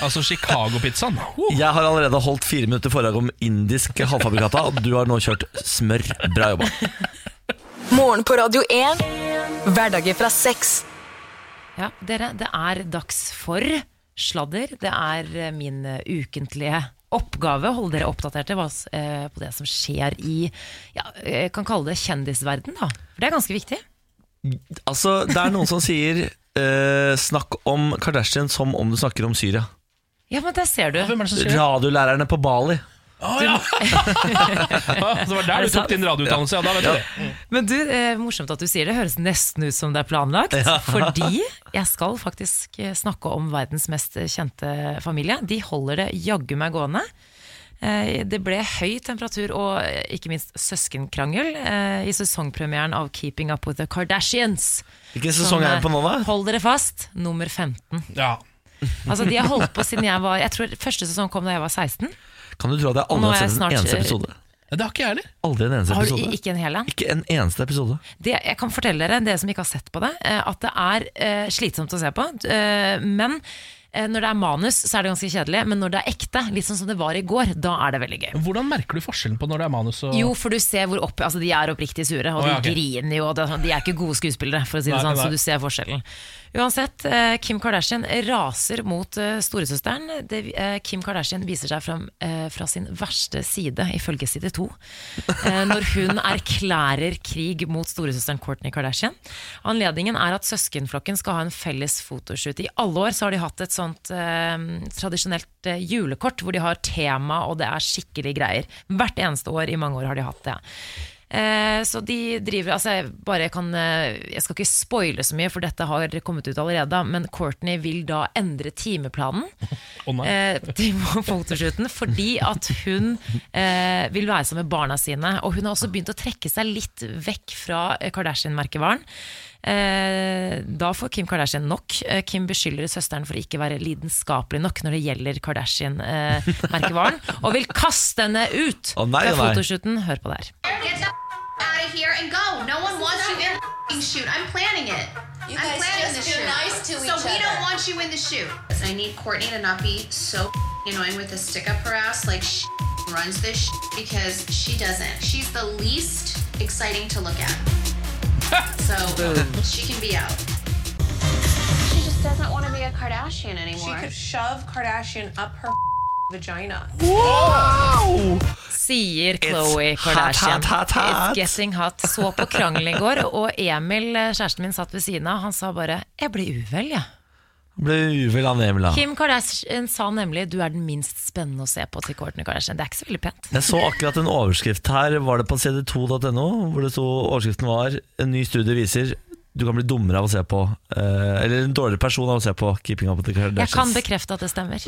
Altså Chicago-pizzaen. Wow. Jeg har allerede holdt fire minutter foredrag om indisk halvfabrikata, og du har nå kjørt smør. Bra jobba. Morgen på Radio 1. Hverdager fra seks. Ja, dere, det er dags for sladder. Det er eh, min eh, ukentlige oppgave. Hold dere oppdaterte hva, s- eh, på det som skjer i ja, eh, Jeg kan kalle det kjendisverden, da. For det er ganske viktig. Altså, det er noen som sier eh, Snakk om Kardashian som om du snakker om Syria. Ja, men der ser du. Hvem er det som sier det? Radiolærerne på Bali. Å, ja. Altså, det var der det du tok sant? din radioutdannelse, ja. Da vet du det. Men du, eh, morsomt at du sier det. Høres nesten ut som det er planlagt. Fordi jeg skal faktisk eh, snakke om verdens mest kjente familie. De holder det jaggu meg gående. Eh, Det ble høy temperatur og eh, ikke minst søskenkrangel eh, i sesongpremieren av Keeping Up With The Kardashians. Hvilken sesong er det på nå, da? Hold dere fast, nummer 15. Ja. Altså, de har holdt på siden jeg var Jeg tror første sesong kom da jeg var 16. Kan du tro at jeg nå aldri har er jeg sett en snart- eneste episode? Ja, det har ikke jeg heller. Aldri en eneste Har du episode. i- ikke en hel en? Ikke en eneste episode. det, jeg kan fortelle dere, dere som ikke har sett på det, eh, at det er eh, slitsomt å se på. eh, Men eh, når det er manus, så er det ganske kjedelig. Men når det er ekte, litt sånn som det var i går, da er det veldig gøy. Hvordan merker du forskjellen på når det er manus og Jo, for du ser hvor opp, altså De er oppriktig sure, og Å, de ja, ok. griner jo. Og det- de er ikke gode skuespillere, for å si det Nei, sånn. nei. Så du ser forskjellen. Uansett, eh, Kim Kardashian raser mot eh, storesøsteren. Det, eh, Kim Kardashian viser seg fram eh, fra sin verste side, ifølge side to, eh, når hun erklærer krig mot storesøsteren Kourtney Kardashian. Anledningen er at søskenflokken skal ha en felles fotoshoot. I alle år så har de hatt et sånt eh, tradisjonelt eh, julekort hvor de har tema, og det er skikkelig greier. Hvert eneste år i mange år har de hatt det. Eh, Så de driver altså jeg, bare kan, eh, jeg skal ikke spoile så mye, for dette har kommet ut allerede. Men Courtney vil da endre timeplanen Å, nei. eh, til fotoshooten fordi at hun eh, vil være sammen med barna sine. Og hun har også begynt å trekke seg litt vekk fra eh, Kardashian-merkevaren. Eh, da får Kim Kardashian nok. Eh, Kim beskylder søsteren for å ikke være lidenskapelig nok når det gjelder Kardashian-merkevaren, og vil kaste henne ut Å, nei, fra nei. fotoshooten. Hør på det her. Get the out of here and go. No one wants you in the f***ing shoot. I'm planning it. You I'm guys planning just do the shoot. nice to so each we other. don't want you in the shoot. I need Courtney to not be so f***ing annoying with the stick up her ass like she runs this sh- because she doesn't. She's the least exciting to look at. so she can be out. She just doesn't want to be a Kardashian She anymore. could shove Kardashian up her vagina. sier It's Khloe Kardashian. hot, hot, hot, hot. It's getting hot. Så på krangelen i går, og Emil, eh, kjæresten min, satt ved siden av. Han sa bare 'jeg ble uvel', jeg. Ble uvel av Emil, da. Kim Kardashian sa nemlig 'du er den minst spennende å se på' til Kourtney Kardashian. Det er ikke så veldig pent. Jeg så akkurat en overskrift her, var det på cd2.no, hvor det sto overskriften var En ny studie viser du kan bli dummere av å se på eh, Eller en dårligere person av å se på Keeping Up with the Jeg kan Kardashians. bekrefte at det stemmer.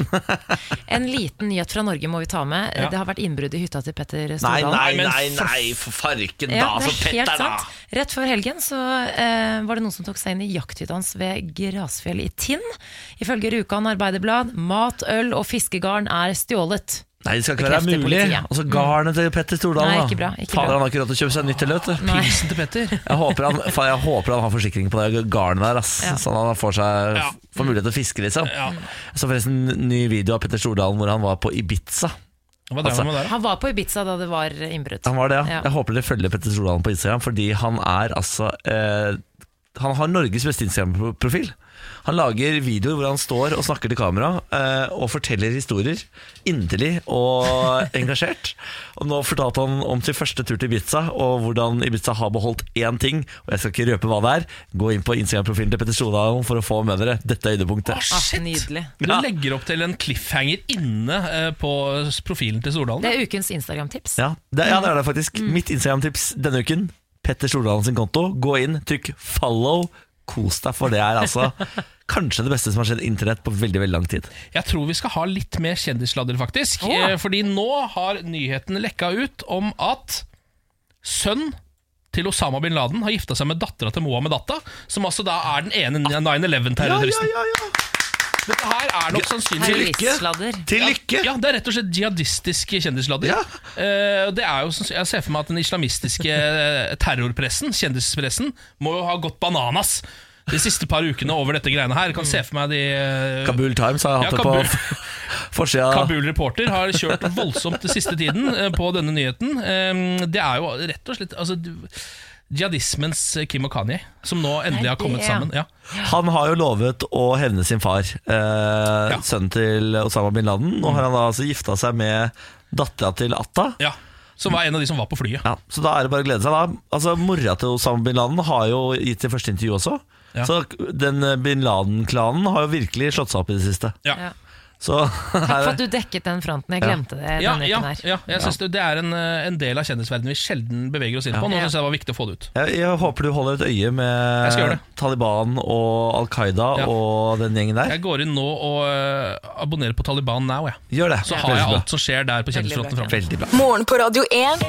En liten nyhet fra Norge må vi ta med. Det har vært innbrudd i hytta til Petter Nei, Stordalen. nei, men nei, nei, for farken da, Ja, det så altså, er helt Petter da sant. Rett før helgen så eh, var det noen som tok seg inn i jakthytta hans ved Grasfjell i Tinn. Ifølge Rjukan Arbeiderblad mat, øl og fiskegarn er stjålet. Nei, det skal ikke være Bekrefter mulig politiet. Altså garnet til Petter Stordalen Nei, da. ikke bra, ikke Fader, bra. han har ikke råd til å kjøpe seg nytt til løt du. Nei. Hilsen til Petter. jeg håper, han, faen, jeg håper han har forsikring på det garnet der ass, Ja. Sånn at han får, seg, Ja. får mulighet til å fiske liksom. Ja. Så forresten, ny video av Petter Stordalen Hvor han var på Ibiza Hva drev Altså, han med der? Han var på Ibiza da det var innbrudd. Han var det, ja. Ja. Jeg håper dere følger Petter Stordalen på Instagram, fordi han er altså eh, Han har Norges beste Instagram-profil. Han lager videoer hvor han står og snakker til kamera eh, og forteller historier. Inderlig og engasjert. Og nå fortalte han om sin første tur til Ibiza, og hvordan Ibiza har beholdt én ting. Og jeg skal ikke røpe hva det er. Gå inn på Instagram-profilen til Petter Stordalen for å få med dere dette øydepunktet. Ah, nydelig. Du Ja. legger opp til en cliffhanger inne eh, på profilen til Stordalen. Det er ukens Instagram-tips. Ja, det, ja, det Mm. er det faktisk. Mitt Instagram-tips denne uken, Petter Stordalen sin konto. Gå inn, trykk 'follow'. Kos deg, for det er altså kanskje det beste som har skjedd internett på veldig veldig lang tid. Jeg tror vi skal ha litt mer kjendissladder, faktisk. Åh. Eh, Fordi nå har nyheten lekka ut om at sønn til Osama bin Laden har gifta seg med dattera til Mohammed Atta, som altså da er den ene 9-11-terroristen. Dette her er nok sannsynligvis Terroristsladder. Til lykke! Ja, det er rett og slett jihadistiske kjendisladder. Ja. Eh, og det er jo, som- jeg ser for meg at den islamistiske eh, terrorpressen, kjendispressen, må jo ha gått bananas de siste par ukene over dette greiene her. Kan se for meg de eh, Kabul Times har Ja, hatt det Kabul. på forsida. Kabul Reporter har kjørt voldsomt den siste tiden eh, på denne nyheten. Eh, Det er jo rett og slett altså, du- jihadismens Kim og Kanye, som nå endelig har det kommet er- sammen. Ja. Han har jo lovet å hevne sin far, eh, sønnen til Osama bin Laden. Nå har Mm. han da altså gifta seg med dattera til Atta. ja. Som var en av de som var på flyet. Ja, så da er det bare å glede seg da Altså, Mora til Osama bin Laden har jo gitt det første intervju også. Ja. Så den eh, bin Laden-klanen har jo virkelig slått seg opp i det siste. Ja. Ja. Så Takk for her, at du dekket den fronten. Jeg glemte det Ja, denne ja, uken her. ja, jeg synes det, det er en, eh, en del av kjendisverdenen vi sjelden beveger oss inn på. Nå synes jeg det var viktig å få det ut. jeg, jeg håper du holder et øye Jeg skal gjøre med det. Taliban og Al Qaida Ja. og den gjengen der. Jeg går inn nå og eh, abonnerer på Taliban Now, jeg. Gjør det. Så har jeg Veldig bra. alt som skjer der på kjendisfronten framover. Veldig bra. Morgen på Radio 1.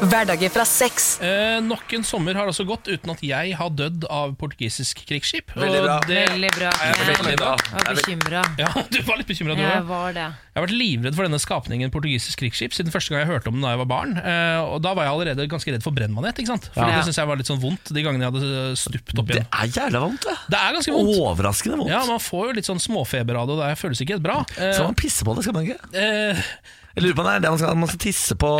Hverdager fra seks. Eh, nok en sommer har altså gått uten at jeg har dødd av portugisisk krigsskip. Veldig bra. Og det, Veldig bra. jeg er Ken. veldig bra. Jeg var bekymra. ja, du var litt bekymra, du Jeg òg. var det. Jeg har vært livredd for denne skapningen portugisisk krigsskip siden første gang jeg hørte om den da jeg var barn. Eh, og Da var jeg allerede ganske redd for brennmanet. ikke sant? For Ja. Det synes jeg var litt sånn vondt de gangene jeg hadde eh, stupt opp Det igjen. er jævla vondt, det. Det er ganske vondt. Overraskende vondt. Ja, Man får jo litt sånn småfeber av det, og det føles ikke helt bra. Eh, Skal man pisse på det, skal man ikke? eh, Jeg lurer på om det er det man skal, man skal tisse på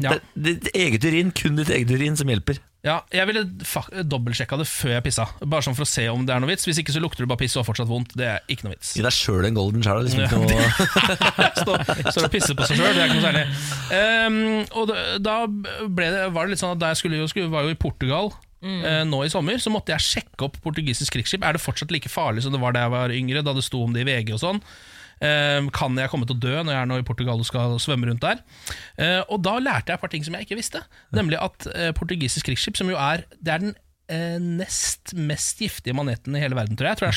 Ja. Det, Ditt eget urin, kun ditt eget urin som hjelper. ja, Jeg ville fa- dobbeltsjekka det før jeg pissa, bare sånn for å se om det er noe vits. Hvis ikke så lukter det bare piss og har fortsatt vondt. Det er ikke noe vits. Gi deg sjøl en golden shower. Liksom, ikke noe, Står står og pisser på seg sjøl, det er ikke noe særlig. Ehm, og da- da ble det, var det litt sånn at da jeg skulle, jo- skulle, var jo i Portugal eh, nå i sommer, så måtte jeg sjekke opp portugisisk krigsskip. Er det fortsatt like farlig som det var da jeg var yngre, da det sto om det i VG og sånn? Ehm, kan jeg komme til å dø når jeg er nå i Portugal og skal svømme rundt der? Eh, og da lærte jeg et par ting som jeg ikke visste, nemlig at eh, portugisisk krigsskip, som jo er Det er den eh, nest mest giftige maneten i hele verden, tror jeg. Jeg tror det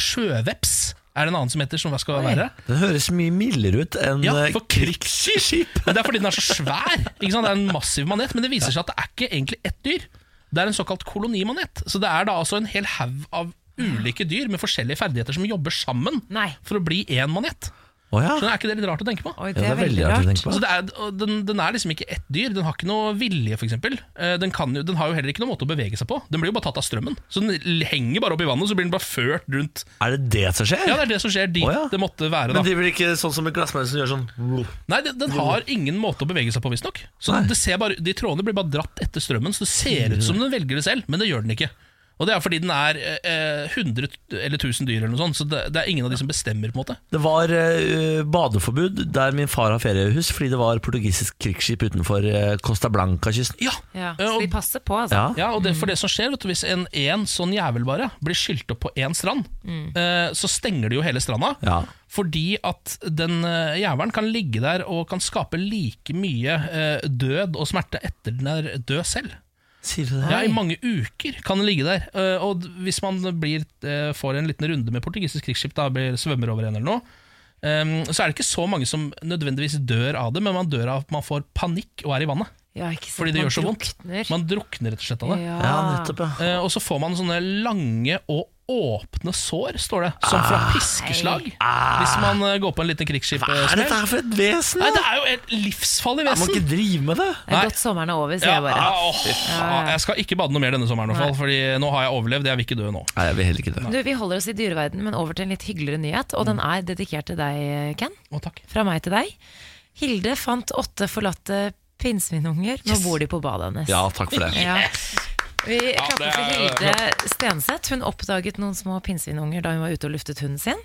er sjøveps. Er det en annen som heter som hva skal være? det høres mye mildere ut enn Ja, eh, for krigsskip. Men Det er fordi den er så svær. Ikke sant? Det er en massiv manet, men det viser seg at det er ikke egentlig ett dyr. Det er en såkalt kolonimanet. Så det er da altså en hel haug av ulike dyr med forskjellige ferdigheter som jobber sammen Nei. for å bli én manet. Å ja. Så er ikke det litt rart å tenke på? Oi, ja. Det er veldig rart å tenke på. Så det er, og den, den er liksom ikke ett dyr. Den har ikke noe vilje, f.eks. Den, kan jo- den har jo heller ikke noen måte å bevege seg på. Den blir jo bare tatt av strømmen. Så den l- henger bare opp i vannet, så blir den bare ført rundt Er det det som skjer? Ja, det er det som skjer Å, dit ja. det måtte være, da. Men driver de ikke sånn som en glassmaus som gjør sånn Nei, den, den har ingen måte å bevege seg på, visstnok. Så Nei. det ser bare- De trådene blir bare dratt etter strømmen, så det ser ut som den velger det selv, men det gjør den ikke. Og Det er fordi den er eh, eh, 100 eller 1000 dyr, eller noe sånt, så det, det er ingen av de som bestemmer. på en måte Det var eh, badeforbud der min far har feriehus fordi det var portugisisk krigsskip utenfor eh, Costa Blanca-kysten. Ja, Ja, Eh, så og- de passer på, altså. Ja. Ja, og det, for det som skjer, vet du, hvis en, en sånn jævel bare blir skylt opp på én strand, eh, så stenger de jo hele stranda. Mm. Ja. Fordi at den eh, jævelen kan ligge der og kan skape like mye eh, død og smerte etter den er død selv. Sier du det? Ja, I mange uker kan den ligge der. Eh, Og d- hvis man blir, eh, får en liten runde med portugisisk krigsskip, da blir svømmer over en eller noe, ehm, så er det ikke så mange som nødvendigvis dør av det, men man dør av at man får panikk og er i vannet. Ja, ikke sant? Fordi det Man gjør så vondt. drukner. Man drukner rett og slett av det. ja. Ja, nettopp, ja. Eh, Og så får man sånne lange og åpne sår, står det, som fra piskeslag. Hvis man eh, går på en liten Hva er dette krigsskipsmell. her for et vesen? Nei, da? det er jo et livsfarlig Man må vesen! ikke drive med det. Det Nei. er godt sommeren er over, sier Ja, jeg bare. ah, åh, ah, jeg skal ikke bade noe mer denne sommeren, i hvert fall, Fordi nå har jeg overlevd. Jeg vil ikke dø nå. Nei, jeg vil heller ikke det. Du, Vi holder oss i dyreverdenen, men over til en litt hyggeligere nyhet. Og den er dedikert til deg, Ken. Å, takk. Fra meg til deg. Hilde fant åtte forlatte pinnsvinunger. Nå bor de på badet hennes. Ja, takk for det. Ja. Vi klapper det for er- Hilde Stenseth. Hun oppdaget noen små pinnsvinunger da hun var ute og luftet hunden sin.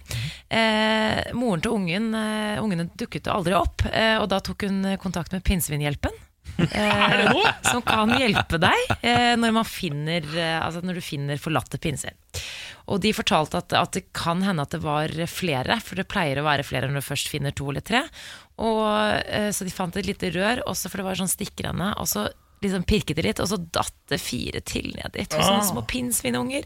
Eh, moren til ungen, eh, ungene dukket aldri opp, eh, og da tok hun eh, kontakt med Pinnsvinhjelpen. Eh, det noe? som kan hjelpe deg eh, når, man finner, eh, altså når du finner forlatte pinnsvin. Og de fortalte at, at det kan hende at det var flere, for det pleier å være flere når du først finner to eller tre. Og, eh, så de fant et lite rør, også for det var sånn stikkrende. Og så liksom pirket de litt, og så datt det fire til ned dit. Sånne Ah. små pinnsvinunger.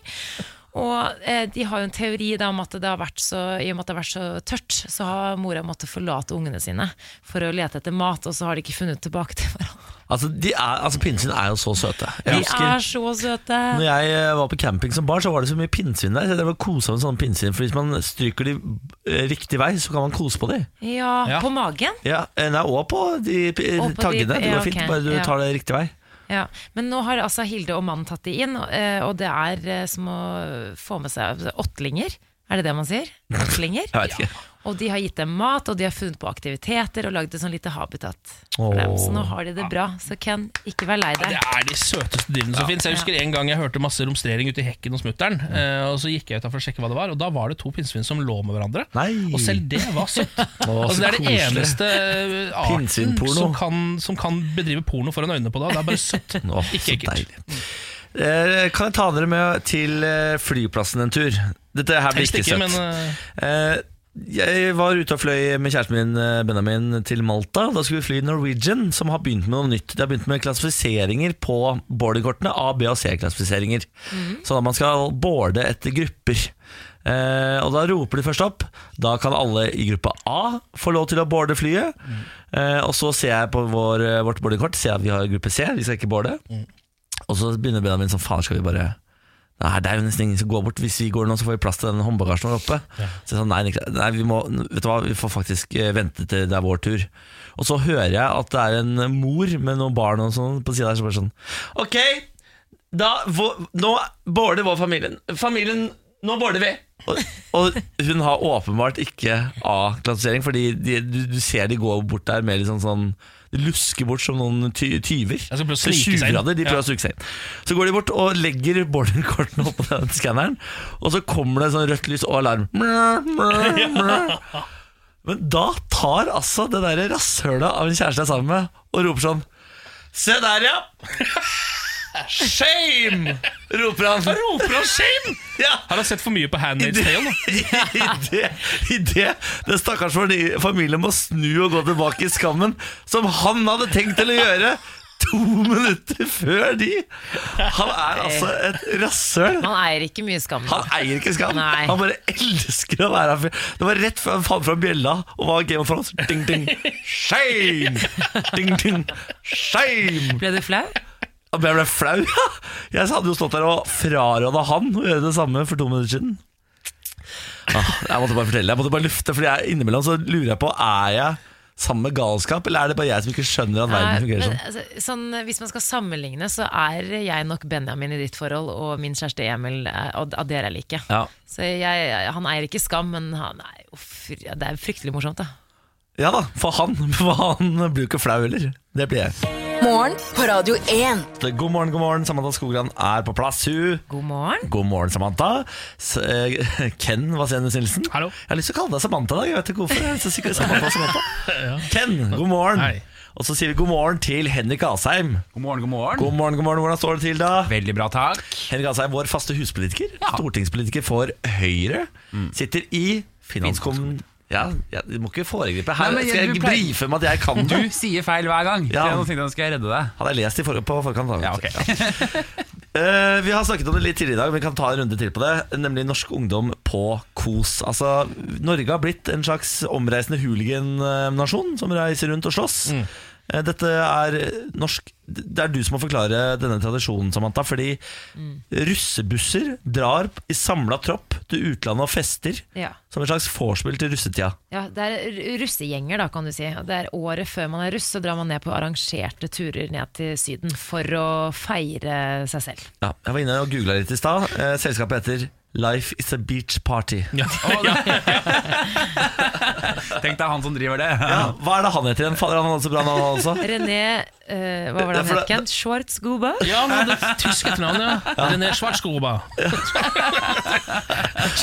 Og eh, de har jo en teori da, om at det har vært så, i og med at det har vært så tørt, så har mora måttet forlate ungene sine for å lete etter mat, og så har de ikke funnet tilbake til hverandre. Altså, de er, altså Pinnsvin er jo så søte. Jeg De er husker så søte. når jeg eh, var på camping som barn, så var det så mye pinnsvin der. Så jeg drev og kosa med sånne pinnsvin. For hvis man stryker de eh, riktig vei, så kan man kose på de. Ja, Ja. på magen. Ja, eh, nei, og på de p- Og på de- taggene. Det ja, går fint, ok, bare du ja. tar det riktig vei. Ja. Men nå har altså Hilde og mannen tatt de inn, og, eh, og det er eh, som å få med seg altså, åttlinger. Er det det man sier? Åttlinger. Jeg vet ikke. Og de har gitt dem mat, og de har funnet på aktiviteter og lagd et sånn lite habitat for dem. Så nå har de det bra. Så Ken, ikke vær lei deg. Det er de søteste dyrene som finnes. Jeg husker en gang jeg hørte masse romstrering ute i hekken hos mutter'n. Mm. eh, Og så gikk jeg utenfor og sjekket hva det var, og da var det to pinnsvin som lå med hverandre. Nei. Og selv det var søtt. Å, altså, det så er det koselig. eneste eh, arten Pinnsvinporno. som kan, som kan bedrive porno foran øynene på deg. Det er bare søtt. Åh, Ikke så ekkelt. deilig. Eh, Kan jeg ta dere med til eh, flyplassen en tur? Dette her blir Helst ikke ikke, søtt. men eh, Eh, Jeg var ute og fløy med kjæresten min eh, Benjamin til Malta. og Da skulle vi fly Norwegian, som har begynt med noe nytt. De har begynt med klassifiseringer på boardingkortene. A, B og C-klassifiseringer. Mhm. Sånn at man skal boarde etter grupper. Eh, og Da roper de først opp. Da kan alle i gruppe A få lov til å boarde flyet. Mhm. Eh, og Så ser jeg på vår, eh, vårt boardingkort, ser jeg at vi har gruppe C, vi skal ikke boarde. Og så begynner Benjamin sånn, faen skal vi bare Nei, det er jo nesten ingen som går bort. Hvis vi går nå, så får vi plass til den håndbagasjen vår oppe. Så jeg sa nei, Niklas, nei vi, må, vet du hva? vi får faktisk eh, vente til det er vår tur. Og så hører jeg at det er en mor med noen barn og sånn på sida her som bare sånn Ok, da, hvor, nå border vår familien. Familien, nå border vi. Og, og hun har åpenbart ikke A-klassifisering, fordi de, du, du ser de går bort der med litt sånn sånn De lusker bort som noen ty tyver. skal prøve å Eller snike seg inn. tjuvrader, De prøver Ja. å suge seg inn. Så går de bort og legger boardingkortene opp på den skanneren, og så kommer det sånn rødt lys og alarm. Mrr, mrr, mrr. Men da tar altså det derre rasshøla av en kjæreste jeg er sammen med, og roper sånn Se der, ja! Shame! roper han. Roper han shame? Ja. Har han sett for mye på Handmade Idet Tale nå? det, i det, den stakkars fami- familien må snu og gå tilbake i skammen, som han hadde tenkt til å gjøre to minutter før de. Han er altså et rasshøl. Man eier ikke mye skam. da. Han eier ikke skam. Nei. Han bare elsker å være her. Det var rett før han fant fram bjella og var Game of Thrones. Ding, ding. Shame! Ding, ding. Shame! Ble du flau? Jeg ble flau, ja. Jeg hadde jo stått der og fraråda han å gjøre det samme for to minutter siden. Ah, jeg måtte bare fortelle, jeg måtte bare lufte, Fordi jeg innimellom så lurer jeg på Er jeg sammen med galskap, eller er det bare jeg som ikke skjønner at verden Nei, fungerer men, sånn? altså, sånn, hvis man skal sammenligne, så er jeg nok Benjamin i ditt forhold, og min kjæreste Emil er- og av dere er like. Ja. Så jeg, han eier ikke skam, men han er, uff, ja, det er fryktelig morsomt, da. ja da, for han, for han blir jo ikke flau heller. Det blir jeg. Morgen på Radio 1. God morgen, god morgen. Samantha Skogran er på plass, hun. God morgen. God morgen, Samantha. S eh, Ken Vasenus Nilsen. Hallo. Jeg har lyst til å kalle deg Samantha i dag. Jeg vet ikke hvorfor. Jeg er så sikker Samantha, Samantha. Ken, god morgen. Hei. Og så sier vi god morgen til Henrik Asheim. God morgen, god morgen. God morgen, god morgen. Hvordan står det til, da? Veldig bra, takk. Henrik Asheim, vår faste huspolitiker. Stortingspolitiker for Høyre. Mm. Sitter i finanskommune... Ja, ja, du må ikke foregripe. Her Nei, men jeg- skal du jeg pleier- brife med at jeg kan Du det. sier feil hver gang. Ja. Så Nå tenkte jeg nå skal jeg redde deg. Hadde jeg lest i for på forkant, da. Ja, ok. Eh, vi har snakket om det litt tidligere i dag, men vi kan ta en runde til på det. Nemlig norsk ungdom på kos. Altså, Norge har blitt en slags omreisende hooligan-nasjon som reiser rundt og slåss. Mm. Eh, Dette er norsk Det er du som må forklare denne tradisjonen, Samantha. Fordi russebusser drar i samla tropp til utlandet og fester. Ja. Som et slags vorspiel til russetida. Ja, det er r- russegjenger, da, kan du si. Og Det er året før man er russ, så drar man ned på arrangerte turer ned til Syden for å feire seg selv. Ja, jeg var inne og googla litt i stad. Eh, Selskapet heter Life is a beach party. Tenk deg han som driver det. Ja, hva er det han heter igjen? Fader, han hadde så bra navn, altså. han også. René eh, Hva var Ja, for det han det- het, Kent? Schwartzguba? Ja, han hadde et tysk etternavn, ja. René Schwarzgruber. Du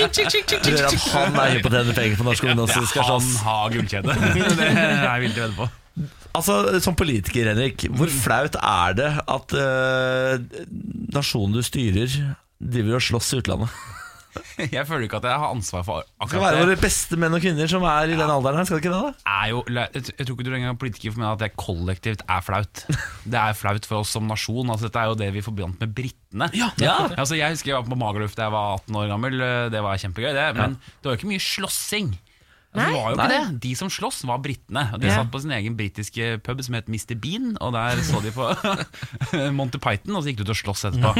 hører at han er hypp på å tjene penger på norsk ungdom som skal Han slåss. har gullkjede. Det er jeg villig til å vedde på. Altså, som politiker, Henrik, hvor flaut er det at eh, nasjonen du styrer, driver og slåss i utlandet? Jeg føler ikke at jeg har ansvar for Det skal være akkurat det. våre beste menn og kvinner som er i den alderen her, skal det ikke det? da? Er jo, jeg tror ikke du er engang politiker for meg at det kollektivt er flaut. Det er flaut for oss som nasjon. Altså, dette er jo det vi forbandt med britene. Ja. Altså, jeg husker jeg var på Magerløft da jeg var 18 år gammel. Det var kjempegøy, det. Men det var jo ikke mye slåssing. Altså, det var jo ikke Nei. det. De som sloss, var britene. Og De Ja. satt på sin egen britiske pub som het Mr. Bean, og der så de på Monty Python, og så gikk de ut og sloss etterpå.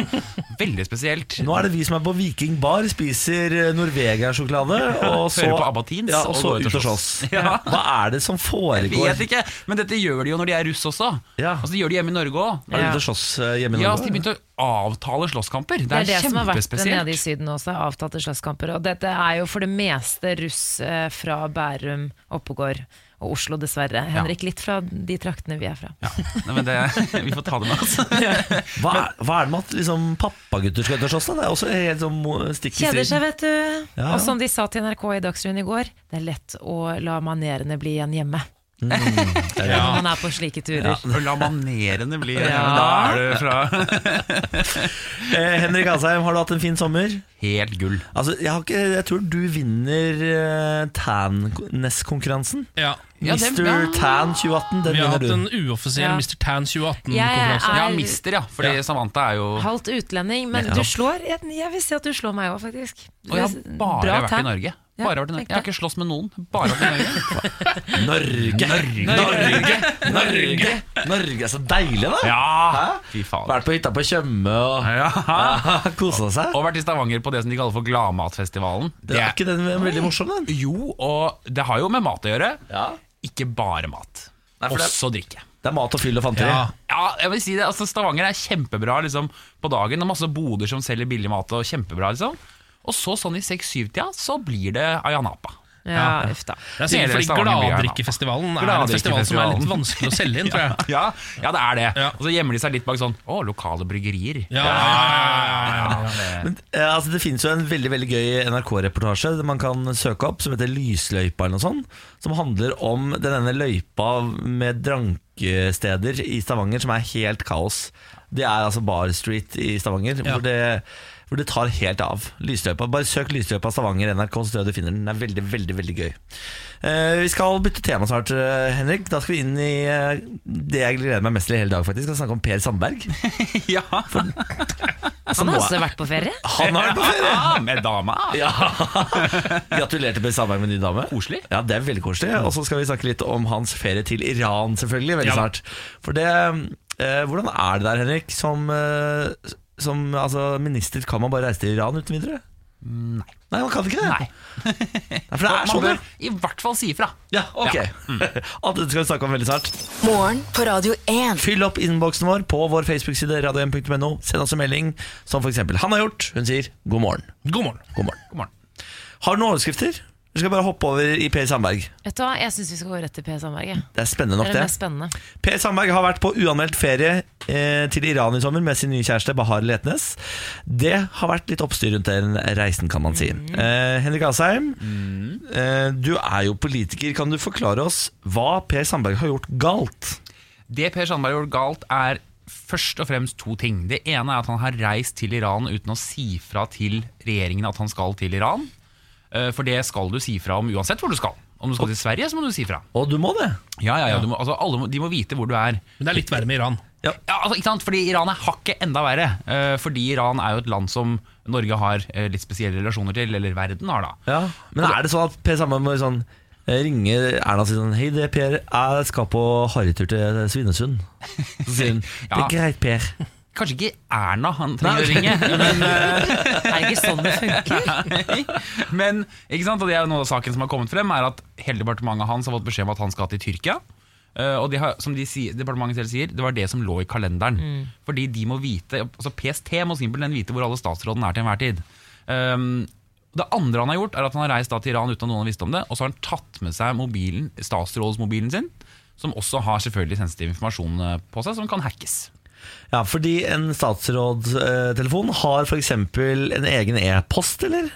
Veldig spesielt. Nå er det vi som er på Viking Bar, spiser eh, norvegersjokolade og så, Hører på ABBA Teens ja, og og så går ut og slåss. Ja. Hva er det som Vet foregår? ikke, men dette gjør de jo når de er russ også. Ja. Altså, de gjør det hjemme i Norge òg. Er du ute og slåss eh, hjemme i Ja, altså, de Norge? begynte å avtale slåsskamper. Det Det er, er det som har vært det nede i kjempespesielt. Syden også, avtalte slåsskamper. Og dette er jo for det meste russ eh, fra Bærum, Oppegård og Oslo, dessverre. Henrik, litt fra de traktene vi er fra. Ja, nei, men det, vi får ta det med oss. Hva er, hva er det med at liksom, pappagutter skal ut og slåss? da? Det er også helt sånn mo- stikk i Kjeder strid. seg, vet du. Ja. Og som de sa til NRK i Dagsrevyen i går, det er lett å la manerene bli igjen hjemme. Mm. Når man er på slike turer. La manerene bli Ja. Da er det fra Eh, Henrik Asheim, har du hatt en fin sommer? Helt gull. Altså, jeg, har ikke, jeg tror du vinner eh, Tan-konkurransen. Ja. Ja, Mr. den- ja. Tan 2018, den Vi vinner har hatt du. en uoffisiell Ja. Mr. Tan Jeg 2018-konkurranse. er Ja, mister, ja. Fordi Ja. Samantha er jo halvt utlending, men Ja. du slår jeg, jeg vil si at du slår meg òg, faktisk. Og jeg har Det er bare bra vært tan. i Norge. Bare vært i Norge. Jeg har ikke slåss med noen. Bare vært i Norge. Norge! Norge! Norge! Norge! Norge. Så deilig, da! Ja, Hæ? fy faen. Vært på hytta på Tjøme og ja. kosa seg. Og vært i Stavanger på det som de kaller for Gladmatfestivalen. Det er ikke den veldig morsom, den? Jo, og det har jo med mat å gjøre. Ja. Ikke bare mat. Nei, for det- Også drikke. Det er mat og fyll og fanteri. Ja. jeg vil si det. Altså, Stavanger er kjempebra liksom, på dagen. Og masse boder som selger billig mat. Og kjempebra liksom Og så sånn i 6-7-tida, så blir det Ayanapa. Ja, uff da. Det er sikkert Hele fordi Stavanger blir her, da. Gladdrikkefestivalen er en festival som er litt vanskelig å selge inn, tror jeg. Ja, ja, det er det. Ja. Og så gjemmer de seg litt bak sånn Å, lokale bryggerier. Ja, ja, Men, eh, altså, det finnes jo en veldig veldig gøy NRK-reportasje man kan søke opp, som heter Lysløypa eller noe sånt. Som handler om den ene løypa med drankesteder i Stavanger som er helt kaos. Det er altså Bar Street i Stavanger, Ja. hvor, det, hvor det tar helt av. Lysløypa. Bare søk Lysløypa Stavanger NRK, så tror jeg du finner den. Den er veldig, veldig, veldig gøy. Eh, vi skal bytte tema snart, eh, Henrik. Da skal vi inn i eh, det jeg gleder meg mest til i hele dag, faktisk. Vi skal snakke om Per Sandberg. Ja. Altså, Han nå har er- også vært på ferie. han har vært på ferie! Ja, med dama. Ja. Gratulerer til Per Sandberg med ny dame. Koselig. Ja, det er veldig koselig. Og så skal vi snakke litt om hans ferie til Iran, selvfølgelig, veldig Ja. snart. For det eh, Hvordan er det der, Henrik? Som, eh, som altså, minister, kan man bare reise til Iran uten videre? Nei. Nei, man kan ikke det? Nei. Nei, for det er Man sånn, bør Mm. det. i hvert fall si ifra. Ja, ok. Alt dette skal vi snakke om veldig snart. Morgen på Radio 1. Fyll opp innboksen vår på vår Facebook-side radio1.no. Send oss en melding, som f.eks. han har gjort. Hun sier god morgen. God morgen. God morgen. God morgen. Har du noen overskrifter? Vi skal bare hoppe over i Per Sandberg. Vet du hva, Jeg syns vi skal gå rett til P. Sandberg. jeg. Det er spennende nok, Det er det mest spennende. Per Sandberg har vært på uanmeldt ferie eh, til Iran i sommer med sin nye kjæreste Bahar Letnes. Det har vært litt oppstyr rundt den reisen, kan man si. Mhm. Eh, Henrik Asheim, eh, du er jo politiker. Kan du forklare oss hva Per Sandberg har gjort galt? Det Per Sandberg gjorde galt, er først og fremst to ting. Det ene er at han har reist til Iran uten å si fra til regjeringen at han skal til Iran. Eh, For det skal du si fra om uansett hvor du skal. Om du skal til Sverige, så må du si fra. Å, du må det! Ja, ja, ja, du må, altså, alle må, De må vite hvor du er. Men det er litt verre med Iran. Ja, altså, ikke sant? Fordi Iran er hakket enda verre. eh, Fordi Iran er jo et land som Norge har eh, litt spesielle relasjoner til, eller verden har, da. Ja. Men er det sånn at Per Sandberg må sånn eh, ringe Erna og si sånn Hei, det er Per. Jeg skal på harrytur til Svinesund. Så sier hun Det Ja. er greit, Per. Kanskje ikke Erna han trenger å ringe, men eh, Er det ikke sånn det funker? Men ikke sant? Og det er jo noe av saken som har kommet frem, er at hele departementet hans har fått beskjed om at han skal til Tyrkia. Eh, og det har, som de sier, departementet selv sier, det var det som lå i kalenderen. Fordi de må vite, altså PST må simpelthen vite hvor alle statsrådene er til enhver tid. Um, det andre han har gjort, er at han har reist da til Iran uten at noen har visst om det. Og så har han tatt med seg mobilen, statsrådsmobilen sin, som også har selvfølgelig sensitiv informasjon eh, på seg, som kan hackes. Ja, fordi en statsrådstelefon har f.eks. en egen e-post, eller?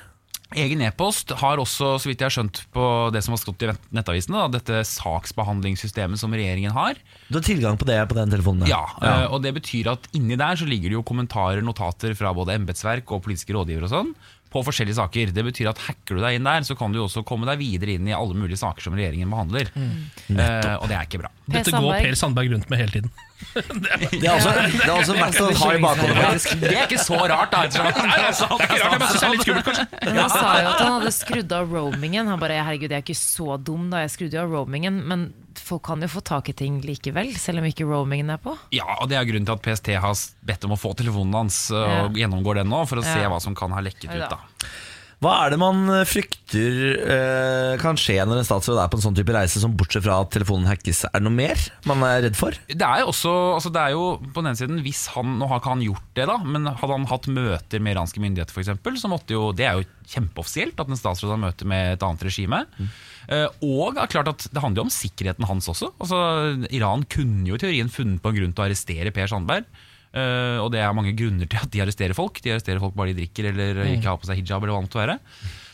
Egen e-post har også, så vidt jeg har skjønt på det som har stått i nettavisene, da, dette saksbehandlingssystemet som regjeringen har. Du har tilgang på det på den telefonen? Ja, eh, Og det betyr at inni der så ligger det jo kommentarer, notater fra både embetsverk og politiske rådgivere og sånn på forskjellige saker. Det betyr at hacker du deg inn der, så kan du jo også komme deg videre inn i alle mulige saker som regjeringen behandler. Eh, og det er ikke bra. Dette går Per Sandberg rundt med hele tiden. Det er også, det er også verdt å ha i bakhodet, faktisk. Det er ikke så rart, da. ettersom at- Det er ikke rart, jeg bare synes det er litt skummelt, kanskje. Men Han sa jo at han hadde skrudd av roamingen. Han bare herregud, jeg er ikke så dum da jeg skrudde av roamingen, men folk kan jo få tak i ting likevel, selv om ikke roamingen er på. Ja, og det er grunnen til at PST har bedt om å få telefonen hans eh, og gjennomgår den nå, for å se Ja. hva som kan ha lekket ut. Oi da. da Hva er det man frykter eh, kan skje når en statsråd er på en sånn type reise, som bortsett fra at telefonen hackes? Er det noe mer man er redd for? Det er jo også, altså det er jo på den ene siden hvis han, Nå har ikke han gjort det, da, men hadde han hatt møter med iranske myndigheter, for eksempel, så måtte jo, Det er jo kjempeoffisielt at en statsråd har møter med et annet regime. Eh, og det er klart at det handler jo om sikkerheten hans også. Altså, Iran kunne jo i teorien funnet på en grunn til å arrestere Per Sandberg. eh, og det er mange grunner til at de arresterer folk. De arresterer folk bare de drikker eller ikke har på seg hijab. eller hva det måtte være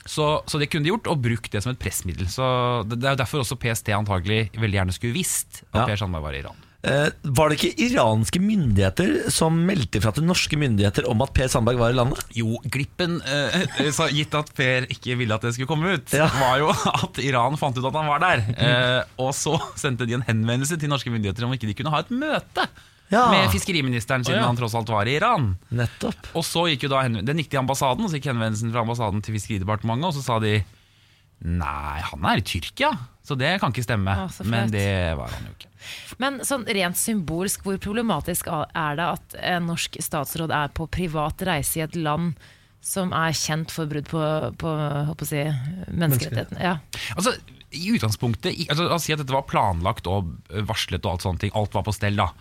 så, så det kunne de gjort, og brukt det som et pressmiddel. Så Det, det er jo derfor også PST antagelig veldig gjerne skulle visst at Ja. Per Sandberg var i Iran. Eh, var det ikke iranske myndigheter som meldte fra til norske myndigheter om at Per Sandberg var i landet? Jo, glippen, eh, så gitt at Per ikke ville at det skulle komme ut, Ja. var jo at Iran fant ut at han var der. Eh, og så sendte de en henvendelse til norske myndigheter om ikke de kunne ha et møte Ja. med fiskeriministeren, siden Å, ja. han tross alt var i Iran. Nettopp. Og så gikk jo da henven- Den gikk til ambassaden, og så gikk henvendelsen fra ambassaden til Fiskeridepartementet, og så sa de Nei, han er i Tyrkia, så det kan ikke stemme. Å, så flaut. Men det var han jo ikke. Men sånn rent symbolsk, hvor problematisk a- er det at en norsk statsråd er på privat reise i et land som er kjent for brudd på, på håper å si, menneskerettighetene? Ja. Altså, i utgangspunktet i- altså, La oss si at dette var planlagt og eh, varslet og alt sånne ting. Alt var på stell, da.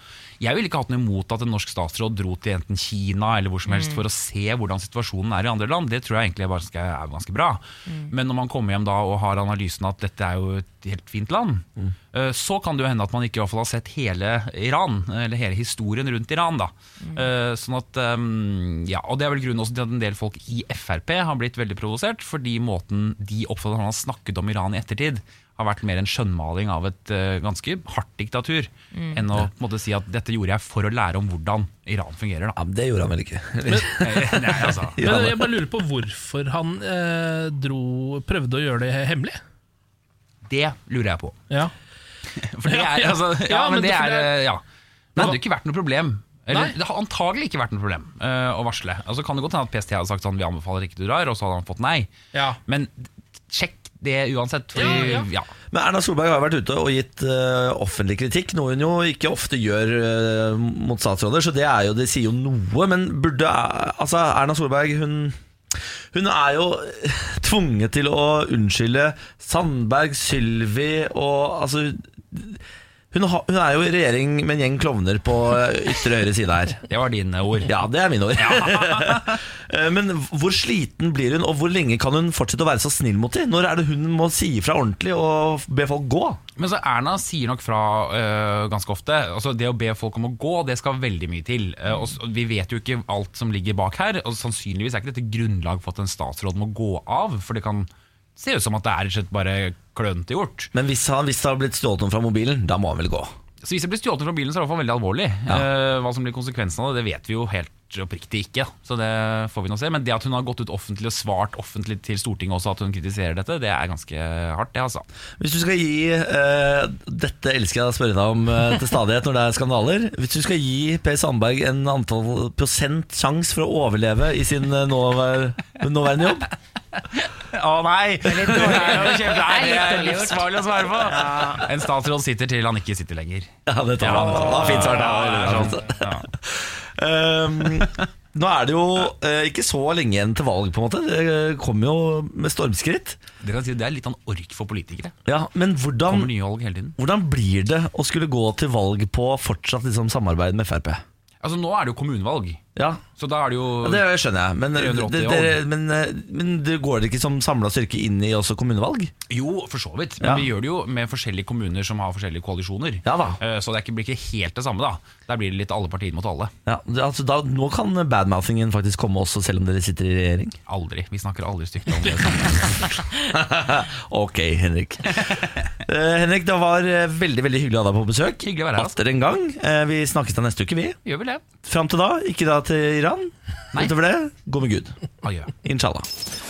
Jeg ville ikke hatt noe imot at en norsk statsråd dro til enten Kina eller hvor som helst for å se hvordan situasjonen er i andre land. Det tror jeg egentlig bare skal, er ganske bra. Men når man kommer hjem da og har analysen at dette er jo et helt fint land, eh, så kan det jo hende at man ikke i hvert fall har sett hele Iran, eller hele historien rundt Iran, da. Eh, Sånn at, eh, ja, og det er vel grunnen også til at en del folk i Frp har blitt veldig provosert, fordi måten de oppfatter at han har snakket om Iran i ettertid, har vært mer en skjønnmaling av et eh, ganske hardt diktatur, enn å på en måte, si at dette gjorde jeg for å lære om hvordan Iran fungerer. Da. Ja, men Det gjorde han vel ikke. Nei, altså. Men jeg bare lurer på hvorfor han eh, dro, prøvde å gjøre det hemmelig. Det lurer jeg på. Ja. For det Ja, er, ja. altså, ja, Ja, men men det det- for er, det er- eh, ja. Det hadde jo ikke vært noe problem. Eller, Nei. det har antagelig ikke vært noe problem eh, å varsle. Altså, kan det godt hende at PST hadde sagt sånn, vi anbefaler ikke du drar, og så hadde han fått nei. Ja. Men sjekk det uansett. Fordi, Ja, ja, ja. Men Erna Solberg har vært ute og gitt eh, offentlig kritikk, noe hun jo ikke ofte gjør eh, mot statsråder, så det, er jo, det sier jo noe. Men burde eh, Altså, Erna Solberg, hun hun er jo eh, tvunget til å unnskylde Sandberg, Sylvi og Altså hun, har, hun er jo i regjering med en gjeng klovner på eh, ytre høyre side her. Det var dine ord. Ja, det er mine ord. Eh, Men hvor sliten blir hun, og hvor lenge kan hun fortsette å være så snill mot dem? Når er det hun må si ifra ordentlig og be folk gå? Men så Erna sier nok fra øh, ganske ofte. Altså Det å be folk om å gå, det skal veldig mye til. Eh, og s- og vi vet jo ikke alt som ligger bak her, og sannsynligvis er ikke dette grunnlag for at en statsråd må gå av. For det kan se ut som at det er rett og slett bare klønete gjort. Men hvis, han, hvis det har blitt stjålet noe fra mobilen, da må han vel gå? Så hvis det blir stjålet fra bilen, så er det i hvert fall veldig alvorlig. Eh, hva som blir konsekvensen av det, det vet vi jo helt oppriktig ikke. Så det får vi nå se. Men det at hun har gått ut offentlig og svart offentlig til Stortinget også at hun kritiserer dette, det er ganske hardt, det, altså. Hvis du skal gi eh, Dette elsker jeg å spørre deg om eh, til stadighet når det er skandaler. Hvis du skal gi Per Sandberg en antall prosent sjanse for å overleve i sin eh, nåvær, nåværende jobb Å nei! Det er jo kjempe- nei, det Det er er litt dårlig gjort. livsfarlig å svare på. En statsråd sitter til han ikke sitter lenger. Ja, det tar han. Det var fint svart. det var veldig bra. Um, nå er det jo eh, ikke så lenge igjen til valg, på en måte. Det kommer jo med stormskritt. Det, kan jeg si, det er litt sånn ork for politikere. Ja, Men Kommer hvordan, nye valg hele tiden. hvordan blir det å skulle gå til valg på fortsatt liksom, samarbeid med Frp? Altså Nå er det jo kommunevalg, Ja, så da er det jo det skjønner jeg, men, det, 380 dere- men, eh, men det går det ikke som samla styrke inn i også kommunevalg? Jo, for så vidt. Men Ja. vi gjør det jo med forskjellige kommuner som har forskjellige koalisjoner. Ja da. Eh, Så det er ikke, blir ikke helt det samme, da. Der blir det litt alle partier mot alle. Ja, det, altså, da, nå kan badmouthingen faktisk komme også, selv om dere sitter i regjering. Aldri. Vi snakker aldri stygt om det. samme. Ok, Henrik. Eh, Henrik, det var eh, veldig veldig hyggelig å ha deg på besøk. Hyggelig å være her, altså. Atter en gang. Eh, vi snakkes da neste uke, vi. Gjør vel det. Fram til da, ikke da til Iran. Nei. Utover det, gå med Gud. Adjø. Inshallah.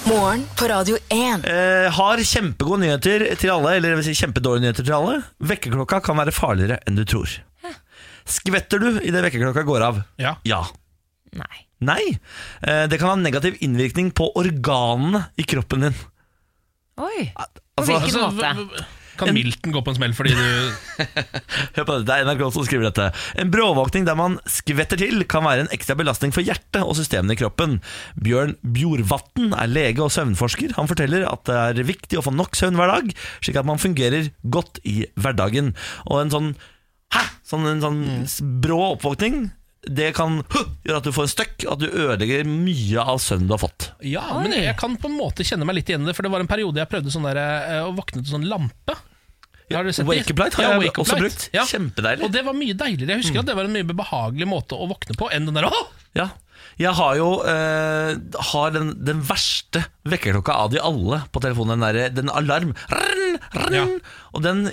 Morgen på Radio 1. Eh, har kjempegode nyheter til alle, eller det vil si kjempedårlige nyheter til alle. Vekkerklokka kan være farligere enn du tror. Skvetter du idet vekkerklokka går av? Ja. Ja. Nei. Nei. Eh, det kan ha negativ innvirkning på organene i kroppen din. Oi! På Altså, hvilken måte? v- v- Kan Milton gå på en smell fordi du Hør på det, det er NRK som skriver dette. En bråvåkning der man skvetter til, kan være en ekstra belastning for hjertet og systemene i kroppen. Bjørn Bjorvatn er lege og søvnforsker. Han forteller at det er viktig å få nok søvn hver dag, slik at man fungerer godt i hverdagen. Og en sånn hæ, sånn, en sånn s- brå oppvåkning, det kan «Huh!» gjøre at du får en støkk, og at du ødelegger mye av søvnen du har fått. Ja, men jeg kan på en måte kjenne meg litt igjen i det, for det var en periode jeg prøvde sånn der, eh, å våkne til sånn lampe. Har du sett det? Wake-up light har jeg wake-up også light. brukt. Kjempedeilig. Mm. Og det var mye deiligere. Jeg husker at det var en mye behagelig måte å våkne på enn den der Åh! Ja. Jeg har jo eh, har den, den verste vekkerklokka av de alle på telefonen. Den, der, den alarm rrrn, rrrn, Ja. Og den,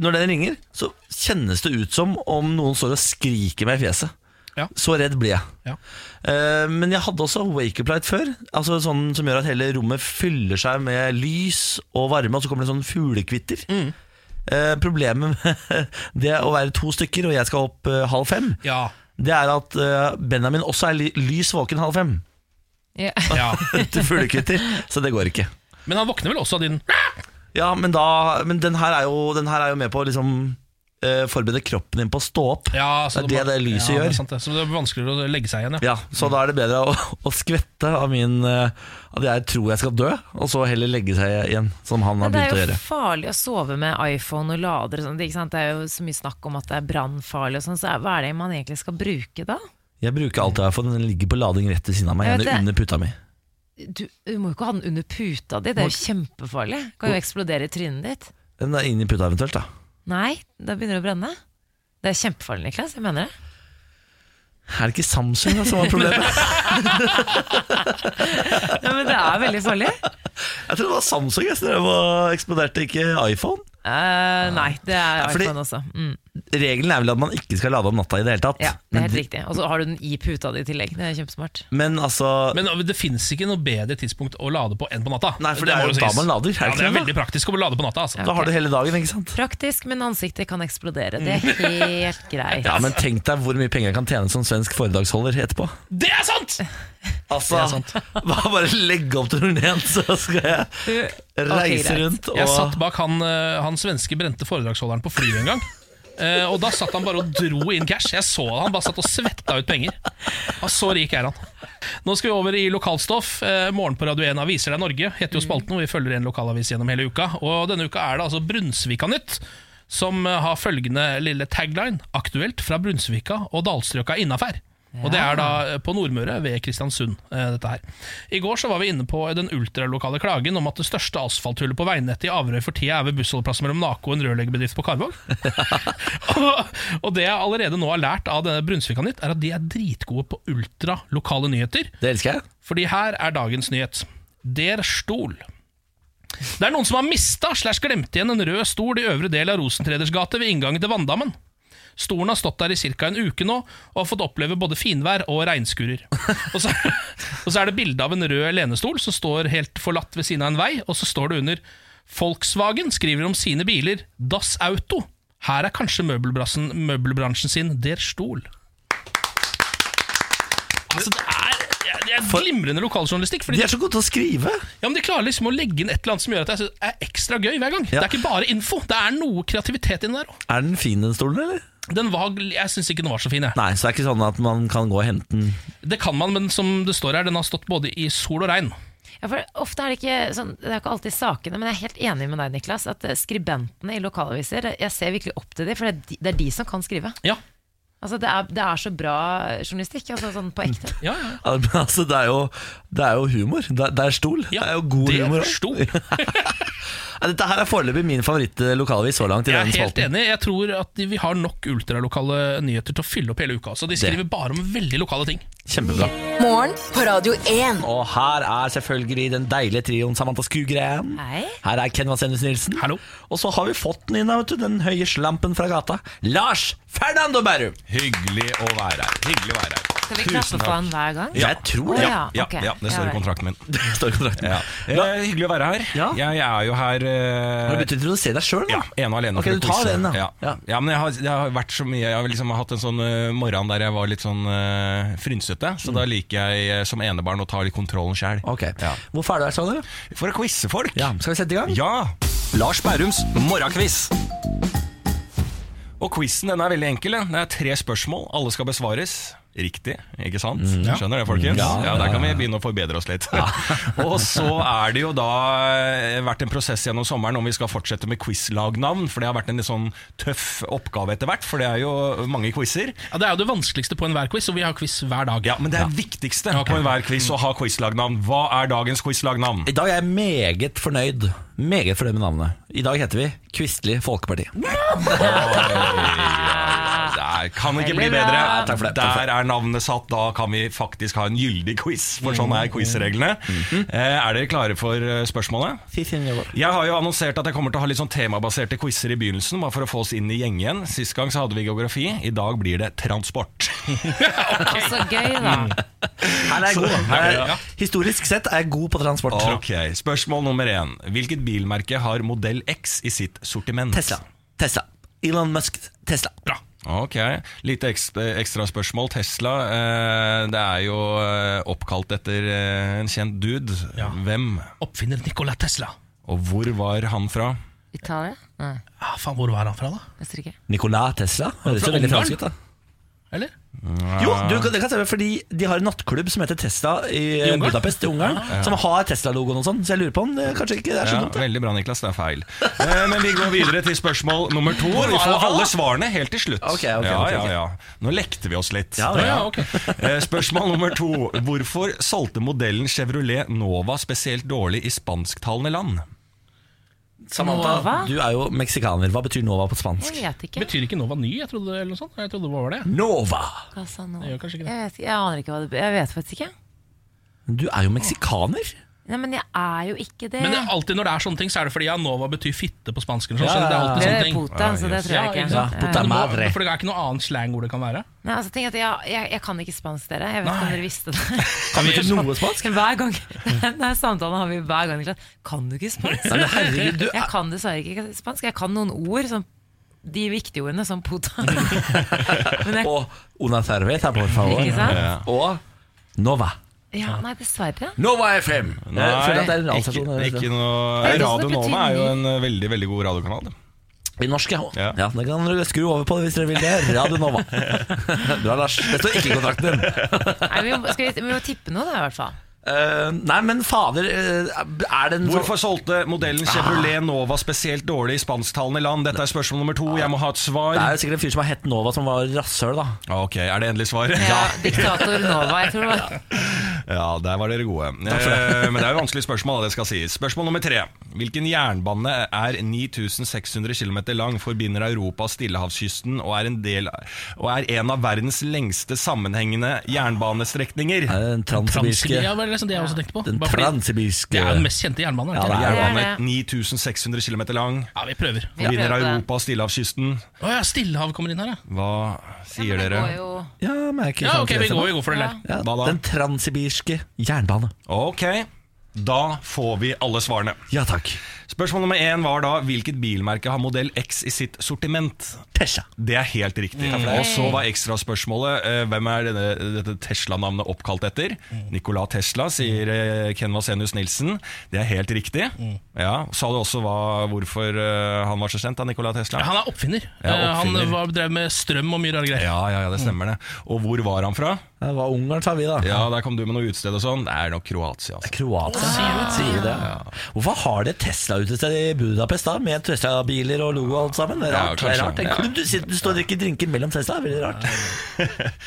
når den ringer, så kjennes det ut som om noen står og skriker meg i fjeset. Ja. Så redd blir jeg. Ja. Eh, men jeg hadde også wake-up light før. Altså sånn Som gjør at hele rommet fyller seg med lys og varme, og så kommer det sånn fuglekvitter. Mm. Eh, problemet med det å være to stykker, og jeg skal opp eh, halv fem, Ja. det er at eh, Benjamin også er li- lys våken halv fem Ja. ja. til fuglekvitter, så det går ikke. Men han våkner vel også av din Ja, men, da, men den, her er jo, den her er jo med på å liksom, eh, forberede kroppen din på å stå opp. Ja, så det er det det lyset ja, gjør. Det er sant, det. Så det er vanskeligere å legge seg igjen, ja. Ja, Så da er det bedre å, å skvette av min eh, At jeg tror jeg skal dø, og så heller legge seg igjen, som han har Men det begynt å er jo gjøre. farlig å sove med iPhone og lader og sånt. Ikke sant? Det er jo så mye snakk om at det er brannfarlig og sånn, så er- hva er det man egentlig skal bruke da? Jeg bruker alltid iPhone, den ligger på lading rett ved siden av meg. Jeg vet Gjerne det. under puta mi. Du, du må jo ikke ha den under puta di, det er jo kjempefarlig. Kan jo eksplodere i trynet ditt. Den er inn i puta eventuelt, da. Nei, da begynner det å brenne. Det er kjempefarlig, Niklas. Jeg mener det. Er det ikke Samsung da, som var problemet? Ja, men det er veldig farlig. Jeg tror det var Samsung jeg, som drev og eksploderte, ikke iPhone. Eh, nei, det er fordi- iPhone også. Mm, Regelen er vel at man ikke skal lade om natta i det hele tatt. ja, det er Men helt de- riktig. Og så har du den i puta di i tillegg. Det er kjempesmart. Men altså Men det fins ikke noe bedre tidspunkt å lade på enn på natta. Nei, for det er må jo da sies. man lader, er det Ja, ikke det er det da? veldig praktisk å lade på natta. Altså. Da har du hele dagen, ikke sant? Praktisk, men ansiktet kan eksplodere. Det er helt greit. Mm. Ja, men tenk deg hvor mye penger jeg kan tjene som svensk foredragsholder etterpå. Det er sant! Altså, bare, bare legge opp turneen, så skal jeg Du, reise greit. rundt og Jeg satt bak han, eh, han svenske brente foredragsholderen på flyet en gang. Eh, og da satt han bare og dro inn cash. Jeg så han bare satt og svetta ut penger. Og så rik er han. Nå skal vi over i lokalstoff. Eh, Morgen på Radio 1 Aviser deg Norge heter jo spalten, og vi følger en lokalavis gjennom hele uka. Og denne uka er det altså Brunsvika Nytt. Som eh, har følgende lille tagline Aktuelt fra Brunsvika og dalstrøka innafær. Og det er da eh, på Nordmøre ved Kristiansund. eh, dette her I går så var vi inne på den ultralokale klagen om at det største asfalthullet på veinettet i Averøy for tida er ved bussholdeplassen mellom Nako og en rørleggerbedrift på Karvåg. og, og det jeg allerede nå har lært av denne Brunsvika Nytt, er at de er dritgode på ultralokale nyheter. Det elsker jeg. Fordi her er dagens nyhet. Der stol. Det er noen som har mista slash glemt igjen en rød stol i øvre del av Rosentreders gate ved inngangen til Vanndammen. Stolen har stått der i ca. en uke nå og har fått oppleve både finvær og regnskurer. Og så, og så er det bilde av en rød lenestol som står helt forlatt ved siden av en vei, og så står det under Volkswagen skriver om sine biler Das Auto. Her er kanskje møbelbrassen- møbelbransjen sin Der Stol. Altså, det er, det er glimrende lokaljournalistikk. Fordi De er så gode til å skrive. ja, men De klarer liksom å legge inn et eller annet som gjør at det er- er ekstra gøy hver gang. Ja. Det er ikke bare info. Det er noe kreativitet inni der òg. Er den fin, den stolen, eller? Den var- Jeg syns ikke den var så fin. jeg Nei, så det er ikke sånn at man kan gå og hente den. Det kan man, men som det står her, den har stått både i sol og regn. Ja, for ofte er det ikke sånn, Det er ikke alltid sakene, men jeg er helt enig med deg, Niklas. At eh, skribentene i lokalaviser, jeg ser virkelig opp til dem, for det er de, det er de som kan skrive. Ja, Altså, det, er, det er så bra journalistikk, altså sånn på ekte. ja, ja. Ja, men Altså, det er jo, det er jo humor. Det er, det er stol. ja. det er jo god det humor. forsto. Ja, Dette her er foreløpig min favorittlokalvis så langt. i Jeg er denne helt spalten. enig. Jeg tror at de- vi har nok ultralokale nyheter til å fylle opp hele uka. Så de skriver bare om veldig lokale ting. Kjempebra. Morgen på Radio 1. Og her er selvfølgelig den deilige trioen Samantha Skugren. Hei. Her er Ken Vasenus Nilsen. Hallo. Og så har vi fått den inn, vet du, den høye slampen fra gata. Lars Fernando Bærum! Hyggelig å være her. Hyggelig å være her. Skal vi klappe på han hver gang? Jeg tror Å det. ja, Ja, ok. ja, det står i vel. kontrakten min. Det står i kontrakten. Ja. Eh, hyggelig å være her. Ja. Jeg er jo her Har eh, du begynt å introdusere deg sjøl, ja, ene og alene. Ok, for du å tar kose. den, da. Ja. Ja. ja, men jeg har, jeg har vært så mye Jeg har liksom hatt en sånn eh, morgen der jeg var litt sånn eh, frynsete, så da liker jeg eh, som enebarn å ta litt kontrollen sjæl. Mm. Ok. Ja. Hvorfor er du her, sa du? For å quize folk! Ja. Skal vi sette i gang? Ja! Lars Bærums morgenquiz. Og quizen den er veldig enkel. den. Det er tre spørsmål. Alle skal besvares riktig. Ikke sant? Mm, Skjønner det, folkens? Ja, Der kan vi begynne å forbedre oss litt. og så er det jo da eh, vært en prosess gjennom sommeren om vi skal fortsette med quizlagnavn. For det har vært en litt sånn tøff oppgave etter hvert, for det er jo mange quizer. Ja, det er jo det vanskeligste på enhver quiz, og vi har quiz hver dag. Ja, men det er viktigste Ok. på enhver quiz å ha quizlagnavn. Hva er dagens quizlagnavn? I dag er jeg meget fornøyd. Meget fornøyd med navnet. I dag heter vi Kvistelig Folkeparti. Der kan det ikke bli Veldig bra. bedre. takk for det, takk for Der er navnet satt. Da kan vi faktisk ha en gyldig quiz, for sånn Mm. er quizreglene. Mm-hmm. Eh, Er dere klare for eh, spørsmålet? Jeg har jo annonsert at jeg kommer til å ha litt sånn temabaserte quizer i begynnelsen, bare for å få oss inn i gjengen. Sist gang så hadde vi geografi, i dag blir det transport. Å, Så gøy, da. Mm. Her er jeg god. Her Ja. er, historisk sett er jeg god på transport. Ok, Spørsmål nummer én. Hvilket bilmerke har modell X i sitt sortiment? Tesla. Tesla. Elon Musk Tesla. Bra. Ok, Litt ekstra, ekstra spørsmål. Tesla eh, det er jo eh, oppkalt etter eh, en kjent dude. Hvem? Oppfinner Nikola Tesla. Og hvor var han fra? Italia? Nei, Ja, Ah, faen, Hvor var han fra, da? Østerrike. Nicolas Tesla? Høres Fra jo veldig Ungarn? fransk ut, da. Eller? Jo, Ah. du, det kan stemme, fordi de har en nattklubb som heter Tesla i, eh, I Ungarn? Budapest i Ungarn. Som har Tesla-logoen og sånn, så jeg lurer på om det kanskje ikke er så Ah. Ja, dumt. da. veldig bra, Niklas. Det er feil. Eh, men vi går videre til spørsmål nummer to. Vi får alle svarene helt til slutt. Ok, ok, ja, ok, ja, ok. ja. Nå lekte vi oss litt. Ja, ja, ja, Eh, Spørsmål nummer to. Hvorfor solgte modellen Chevrolet Nova spesielt dårlig i spansktalende land? Samantha, Nova? du er jo meksikaner. Hva betyr Nova på spansk? Jeg vet ikke. Betyr ikke Nova ny? Jeg trodde eller noe sånt Jeg trodde det var det. Nova! Casanova. Det gjør kanskje ikke det. Jeg, vet, ikke- jeg aner ikke hva det Jeg vet faktisk ikke. Du er jo meksikaner. Nei, men jeg er jo ikke det. Men det er alltid når det er sånne ting, så er det fordi ja, Nova betyr fitte på spansk. Eller sånn, Ja, så det er alltid det sånne er ting. pota, så det tror jeg Ja, ikke. ikke sant? Ja. Puta madre. For det er ikke noe annet slangord det kan være. Nei, altså, tenk at jeg, jeg, jeg kan ikke spansk, dere. Jeg vet ikke om dere visste det. Kan du ikke noe spansk? Hver gang Denne samtalen har vi hver gang. Niklas. Kan du ikke spansk? Nei, men herregud, du er- Jeg kan dessverre ikke spansk. Jeg kan noen ord, som de viktige ordene, som pota. Men jeg, Og una cerveza, por favor. Ikke sant? Ja. Og Nova. ja, nei, dessverre. Nova FM! jeg føler at det er en ikke, radiostasjon. ikke eller? noe Er det det som Radio betyr Nova er jo ny? en eh, veldig veldig god radiokanal. I norsk, ja. Ja. ja. Det kan dere skru over på det hvis dere vil det. Radio Nova. Bra, Lars. Det står ikke i kontrakten din. Nei, vi, må, skal vi, vi må tippe noe, da, i hvert fall. Eh, nei, men fader eh, Er det en sånn- Hvorfor solgte modellen Chevrolet Nova spesielt dårlig i spansktalende land? Dette er spørsmål nummer to. Jeg må ha et Det er svar. Ah, jo sikkert en fyr som har hett Nova som var rasshøl, da. Ok, Er det endelig svar? Ja, diktator Nova. Jeg tror det var Ja, der var dere gode. Eh, Men det er jo vanskelige spørsmål. da, det skal sies Spørsmål nummer tre. Hvilken jernbane er 9600 km lang, forbinder Europa og Stillehavskysten og er, en del, og er en av verdens lengste sammenhengende jernbanestrekninger? Er det den Eh, transsibirske Transsibir- Ja, vel, liksom, det har jeg også tenkte på. Den Bare fordi det transsibirske er jo den mest kjente jernbanen. er det ikke Ja, det er det? Jernbane 9600 km lang, ja, vi prøver. Vi forbinder prøver det. Europa og Stillehavskysten. Å ja, Stillehav kommer inn her, ja. Ja, Hva sier men det dere? går jo- Ja, merker Ja, ok, vi går, vi går for det der. Ja, Hva da? Den transsibirske jernbane. Ok, da får vi alle svarene. Ja takk. Spørsmål nummer én var da hvilket bilmerke har modell X i sitt sortiment? Tesla. Det er helt riktig. Og så var ekstraspørsmålet eh, hvem er denne, dette Tesla-navnet oppkalt etter? Nikola Tesla, sier eh, Ken Vasenius Nilsen. Det er helt riktig. Ja, Sa du også hva, hvorfor eh, han var så kjent, da, Nikola Tesla? Han er oppfinner. Ja, Eh, oppfinner. Han var, drev med strøm og mye rare greier. Ja, ja, ja, det stemmer det. Og hvor var han fra? Det var Ungarn, sa vi da. Ja, Der kom du med noe utested og sånn. Det er nok Kroatia. Altså. Kroatia. Sier vi det? Hvorfor har de et Tesla-utested i Budapest da, med Tesla-biler og logo og alt sammen? Det er Ja, rart. kanskje. det er rart. En Ja. klubb du, sitter, du står og drikker drinker mellom Tesla, veldig rart.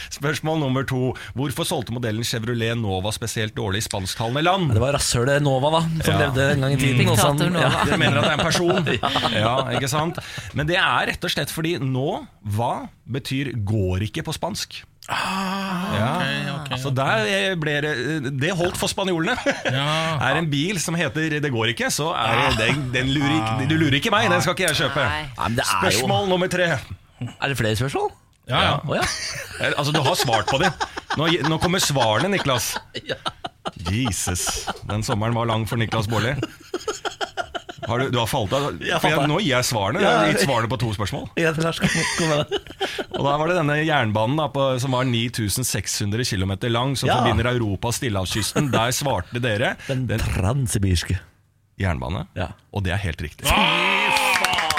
Spørsmål nummer to. Hvorfor solgte modellen Chevrolet Nova spesielt dårlig i spansktalende land? Det var rasshølet Nova da, som Ja. levde en gang i tiden. og Diktator sånn- Nova. Dere mener at det er en person? Ja, ikke sant? Men det er rett og slett fordi nå, hva betyr går ikke på spansk? Ja. Så der eh, ble det Det holdt for spanjolene. Er en bil som heter 'Det går ikke', så er det den, den lurer ikke, Du lurer ikke meg, den skal ikke jeg kjøpe. Nei. Ja, men det er, jo, Spørsmål nummer tre. er det flere spørsmål? Ja, ja. Å ja. Eh, Altså, du har svart på det. Nå, nå kommer svarene, Niklas. Jesus. Den sommeren var lang for Niklas Baarli. Har du, du har falt av? For falt av. jeg, nå gir jeg svarene. Jeg Ja. har gitt svarene på to spørsmål. Ja, Lars, kom, kom med det. Og da var det denne jernbanen da, på, som var 9600 km lang, som Ja. forbinder Europa og Stillehavskysten. Der svarte dere Den den transsibirske. jernbane, Ja. og det er helt riktig.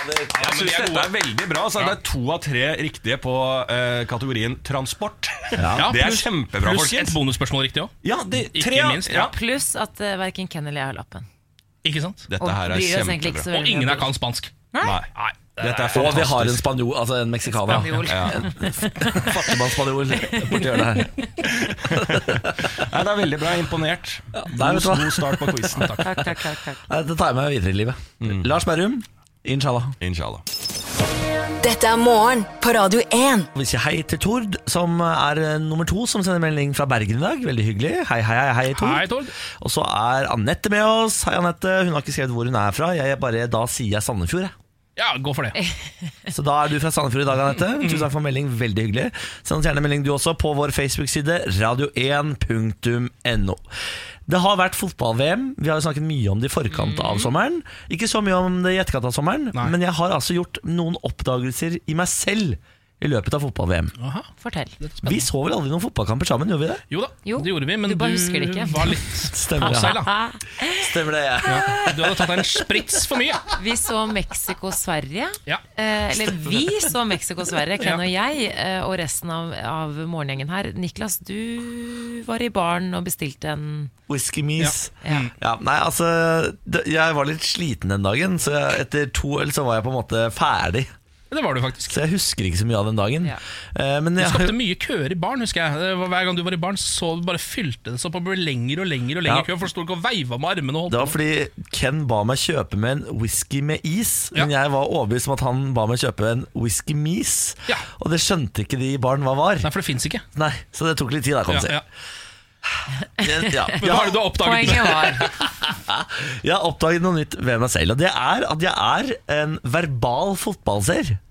Jeg synes dette er veldig bra. Så Det er to av tre riktige på eh, kategorien transport. Ja, Det er pluss- kjempebra, Pluss et folkens. bonusspørsmål riktig òg. Ja, det, Ikke tre, av- minst, ja. ja. Pluss at uh, verken Ken eller jeg har lappen. Ikke sant? Og Dette her bryr er oss egentlig ikke så kjempebra. veldig Og ingen mye her kan spansk. Nei, dette er Og vi har en fantastisk. spanjol, altså en meksikaner. om jul. Fattigmannsspanjol borti hjørnet her. Nei, det er veldig bra. Imponert. der, vet God, du hva. god start på quizen. Takk. Takk, takk, takk, takk. Nei, Det tar jeg med videre i livet. Mm. Lars Berrum, inshallah. Inshallah. Dette er morgen på Radio 1. Vi sier hei til Tord, som er eh, nummer to, som sender melding fra Bergen i dag. Veldig hyggelig. Hei, hei, hei, hei Tord. Hei, Tord. Og så er Anette med oss. Hei, Anette. Hun har ikke skrevet hvor hun er fra. Jeg bare, da sier jeg Sandefjord, jeg. Ja, gå for Eh, det. Så da er du fra Sandefjord i dag, Anette. Tusen takk for melding, veldig hyggelig. Send oss gjerne melding du også på vår Facebook-side, radio1.no. Det har vært fotball-VM. Vi har jo snakket mye om det i forkant av sommeren. Ikke så mye om det i etterkant av sommeren, men jeg har altså gjort noen oppdagelser i meg selv i løpet av fotball-VM. Aha. Fortell. Vi så vel aldri noen fotballkamper sammen, gjorde vi det? Jo da, Jo, det gjorde vi, men du du, bare husker det ikke. var litt Stemmer offside, det. da. Stemmer det ja. Du hadde tatt deg en sprits for mye. Vi så Mexico-Sverige. Ja. Eh, eller vi så Mexico-Sverige, Ken Ja. og jeg, eh, og resten av, av morgengjengen her. Niklas, du var i baren og bestilte en Whisky Mees. ja. Ja, nei, altså det, Jeg var litt sliten den dagen, så jeg, etter to øl så var jeg på en måte ferdig. Det var du faktisk. Så jeg husker ikke så mye av den dagen. Ja. Eh, men Du jeg, skapte mye køer i baren, husker jeg. Det var- Hver gang du var i baren, så du bare fylte det seg opp og ble lengre og lengre og lengre Ja. kø. Folk sto ikke og veiva med armene og holdt det var fordi Ken ba meg kjøpe med en whisky med is, Ja. men jeg var overbevist om at han ba meg kjøpe en whisky Mees. Ja. Og det skjønte ikke de i baren hva var. Nei, for det fins ikke. Nei, så det tok litt tid, da, kan Ja, du si. ja. Jeg- Ja. Men da har du da oppdaget det. Poenget var Jeg har oppdaget noe nytt ved meg selv, og det er at jeg er en verbal fotballseer.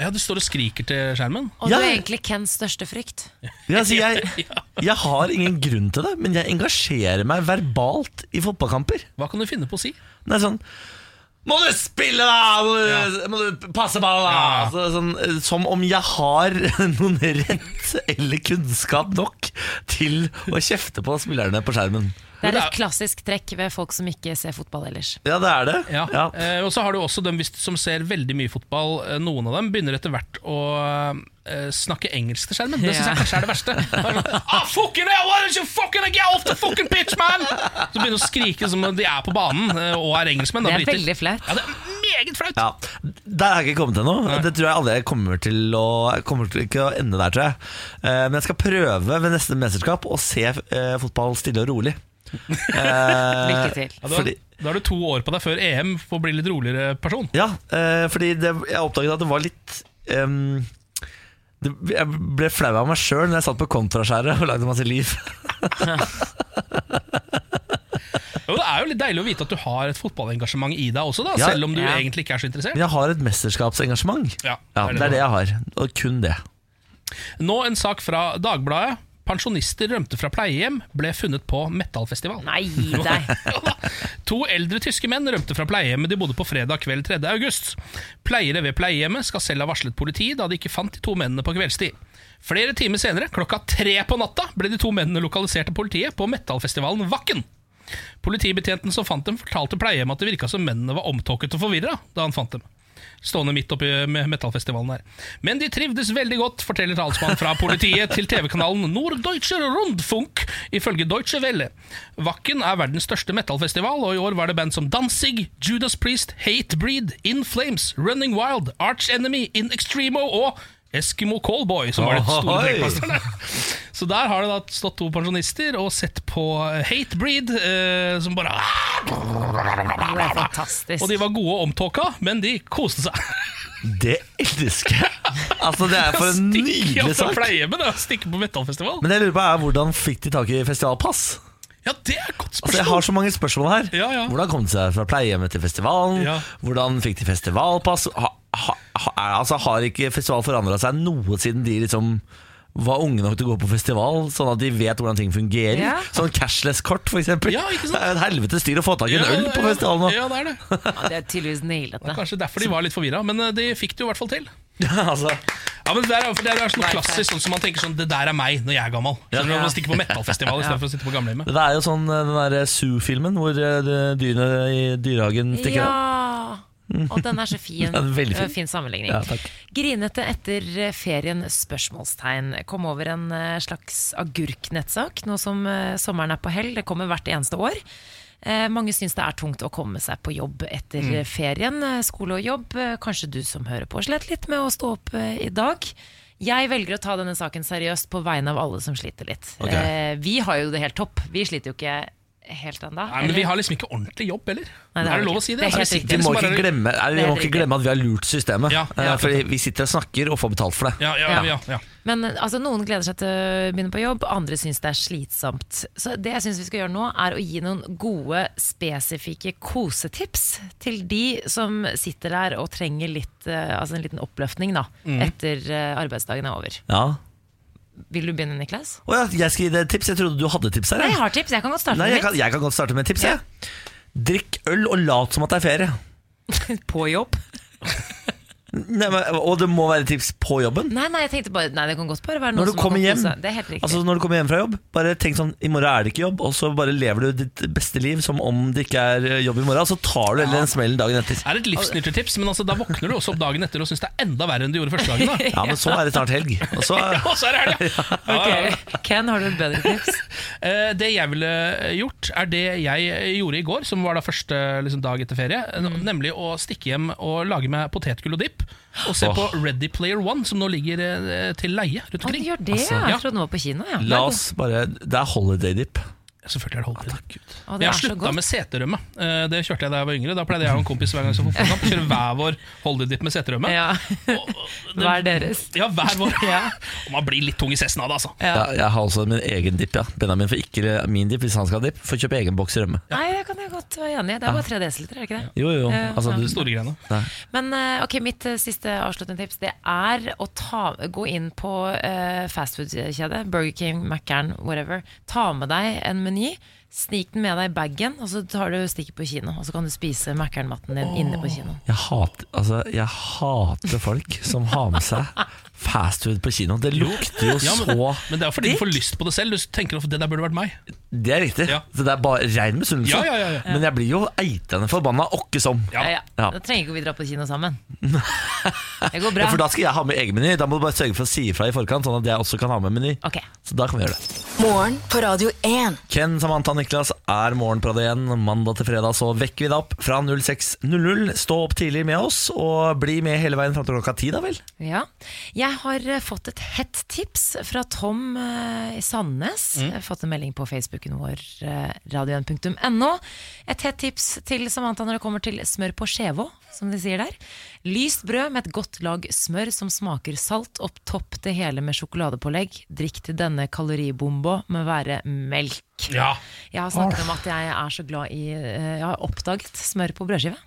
Ja, du står og skriker til skjermen. Og Ja. du er egentlig Kens største frykt. Ja, altså, jeg, jeg har ingen grunn til det, men jeg engasjerer meg verbalt i fotballkamper. Hva kan du finne på å si? Det er sånn Må du spille, da! Må du, må du passe ballen, da! Ja. Så, sånn, eh, som om jeg har noen rett eller kunnskap nok til å kjefte på spillerne på skjermen. Det er et klassisk trekk ved folk som ikke ser fotball ellers. Ja, det er det. Ja. Ja. Eh, og så har du også dem hvis, som ser veldig mye fotball. Eh, Noen av dem begynner etter hvert å eh, snakke engelsk til skjermen. Det syns jeg kanskje er det verste. Ah, fucking hell, why don't you fucking get off the fucking pitch, man? Så begynner de å skrike som om de er på banen eh, og er engelskmenn. da, Det er briter. veldig flaut. Ja, det er meget flaut. Ja, Der har jeg ikke kommet ennå. Det tror jeg aldri jeg kommer til å jeg kommer til ikke å ende der, tror jeg. Eh, Men jeg skal prøve ved neste mesterskap å se eh, fotball stille og rolig. Eh. Eh, Lykke til. Ja, da, Fordi, da har du to år på deg før EM for å bli litt roligere person. ja, eh, fordi det, jeg oppdaget at det var litt ehm, det, Jeg ble flau av meg sjøl når jeg satt på kontraskjæret og lagde masse liv. Jo, det er jo litt deilig å vite at du har et fotballengasjement i deg også, da, Ja. selv om du Ja. egentlig ikke er så interessert. Men jeg har et mesterskapsengasjement. Ja, Ja, det er det Det er du det jeg har, og kun det. Nå en sak fra Dagbladet. Pensjonister rømte fra pleiehjem, ble funnet på metallfestival. Nei, gi deg. Jo da. To eldre tyske menn rømte fra pleiehjemmet de bodde på fredag kveld 3. august. Pleiere ved pleiehjemmet skal selv ha varslet politiet da de ikke fant de to mennene på kveldstid. Flere timer senere, klokka tre på natta, ble de to mennene lokalisert av politiet på metallfestivalen Vakken. Politibetjenten som fant dem, fortalte pleiehjemmet at det virka som mennene var omtåket og forvirra da han fant dem. Stående midt oppi med metallfestivalen her. Men de trivdes veldig godt, forteller talsmann fra politiet til TV-kanalen Norddeutscher Rundfunk, ifølge Deutsche Welle. Wacken er verdens største metallfestival, og i år var det band som Danzig, Judas Priest, Hatebreed, In Flames, Running Wild, Arch Enemy, In Extremo og Eskimo Callboy, som var det store Ohoi! trekkplasterne. Så der har det da stått to pensjonister og sett på Hatebreed, eh, som bare Det er fantastisk. Og de var gode og omtåka, men de koste seg. Det elsker jeg! Altså, det er for en Stikke opp nydelig fra sak. pleiehjemmet og stikke på metallfestival. Men det jeg lurer på er hvordan fikk de tak i festivalpass? Ja, det er et godt Altså Jeg spørsmål. har så mange spørsmål her. Ja, ja. Hvordan kom de seg fra pleiehjemmet til festivalen? Ja. Hvordan fikk de festivalpass? Ha, ha, ha, altså Har ikke festival forandra seg noe siden de liksom var unge nok til å gå på festival, sånn at de vet hvordan ting fungerer? Ja. Sånn cashless-kort, f.eks. Ja, ikke sant? Det er et helvete styr å få tak i en Ja, øl på festivalen nå! Ja, det er det. Ja, det er tydeligvis nailet det. Kanskje derfor de var litt forvirra, men eh, de fikk det jo i hvert fall til. altså, Ja, men Det der er, for det der er sånn klassisk, sånn som man tenker sånn Det der er meg når jeg er gammel. Så når man stikker på metallfestival istedenfor å sitte på gamlehjemmet. det er jo sånn eh, den derre Zoo-filmen hvor eh, det- dyrene i dyrehagen stikker av. Ja! Og den er så Mm, fin. Ja, den er veldig fin. Eh, fin sammenligning. Ja, takk. Grinete etter eh, ferien? spørsmålstegn. Kom over en eh, slags agurknettsak, nå som eh, sommeren er på hell. Det kommer hvert eneste år. Eh, Mange syns det er tungt å komme seg på jobb etter Mm. eh, ferien. eh, Skole og jobb. Eh, Kanskje du som hører på, slet litt med å stå opp eh, i dag. Jeg velger å ta denne saken seriøst på vegne av alle som sliter litt. Ok. Eh, Vi har jo det helt topp. Vi sliter jo ikke helt ennå. Nei, men Vi har liksom ikke ordentlig jobb heller. Nei, det er har vi det lov ikke. å si det? Det Er er helt sitter riktig. Vi liksom må bare- ikke glemme, nei, vi Det er må ikke riktig. glemme at vi har lurt systemet. Ja, ja. eh, fordi vi sitter og snakker og får betalt for det. Ja, ja, Ja. ja. ja, Men altså, noen gleder seg til å begynne på jobb, andre syns det er slitsomt. Så det jeg syns vi skal gjøre nå, er å gi noen gode, spesifikke kosetips til de som sitter der og trenger litt, eh, altså en liten oppløftning da, Mm. etter eh, arbeidsdagen er over. Ja. Vil du begynne, Niklas? Å ja, jeg skal gi deg et tips. Jeg trodde du hadde tips her. Nei, jeg. jeg har tips. Jeg kan godt starte Nei, jeg, med kan, jeg kan godt starte med et tips. Jeg. Drikk øl og lat som at det er ferie. mitt. På jobb. Nei, men, og det må være tips på jobben? Nei, nei, jeg tenkte bare Nei, det kan godt bare være noen Når du som har kommer gått hjem på seg. Det er helt riktig. Altså når du kommer hjem fra jobb, bare tenk sånn I morgen er det ikke jobb, og så bare lever du ditt beste liv som om det ikke er eh, jobb i morgen. Og så tar du heller den smellen dagen etter. Det er et livsnyttertips, men altså, da våkner du også opp dagen etter og syns det er enda verre enn du gjorde første dagen. Da. Ja, men så er det snart helg. Og så eh, Og så er det helg, ja. Ok, Ken, har du et bedre tips? Eh, Det jeg ville gjort, er det jeg gjorde i går, som var da første liksom, dag etter ferie. Mm. Nemlig å stikke hjem og lage meg potetgull og dipp. Og se på Ready Player One, som nå ligger eh, til leie rundt Å, du omkring. gjør det, Altså, ja. ja. Jeg trodde den var på kino, ja. La oss bare Det er holiday dip. Selvfølgelig er det holdbart. Å, Jeg det har er så slutta godt. med seterømme. Eh, Det kjørte jeg da jeg var yngre. Da pleide jeg og en kompis hver gang som fotballkamp kjøre hver vår holdedipp med seterømme. Ja. Hver deres. Ja, hver vår. Og man blir litt tung i cessen av det, altså. Ja. Jeg, jeg har også min egen dip, ja. Benjamin får ikke min dip hvis han skal ha dip. Får kjøpe egen boks rømme. Nei, det kan jeg godt være enig i. Det er bare 3 dl, er det ikke det? Jo, jo. Ja, Altså, Eh, ja. du, Store greiene. Men eh, ok, mitt eh, siste avsluttende tips Det er å ta, gå inn på eh, fastfood-kjedet Burger King, Mac'ern, whatever Ta med deg en meny Snik den med deg i baggen Og så tar du stikket på kino Og så kan du spise Mac'ern-matten din inne på kino jeg, hater, altså, jeg hater folk som har med seg fastfood på kino. Det lukter jo Ja, men, så men det er fordi du får lyst på det selv. Du tenker at det der burde vært meg. Det er riktig. Ja. Så det er bare rein misunnelse. Ja, ja, ja, ja. Men jeg blir jo eitende forbanna åkke som. Ja. ja, ja. Ja. Da trenger ikke vi dra på kino sammen Det går Ja, bra For da skal jeg ha med egen meny. Da må du bare sørge for å si ifra i forkant, sånn at jeg også kan ha med meny. Ok, Så da kan vi gjøre det. Morgen på Radio 1. Ken, Samantha og Niklas er morgen på Radio 1. Mandag til fredag så vekker vi deg opp fra 06.00. Stå opp tidlig med oss, og bli med hele veien fram til klokka ti, da vel. Ja. Jeg har eh, fått et hett tips fra Tom eh, i Sandnes. Jeg har fått en melding på Facebooken vår, eh, radioen.no. Et hett tips til Samantha når det kommer til smør på skjevå, som de sier der. Lyst brød med et godt lag smør som smaker salt, og topp det hele med sjokoladepålegg. Drikk til denne kaloribomba med være melk. Ja. Jeg har snakket om at jeg er så glad i eh, Jeg har oppdaget smør på brødskive.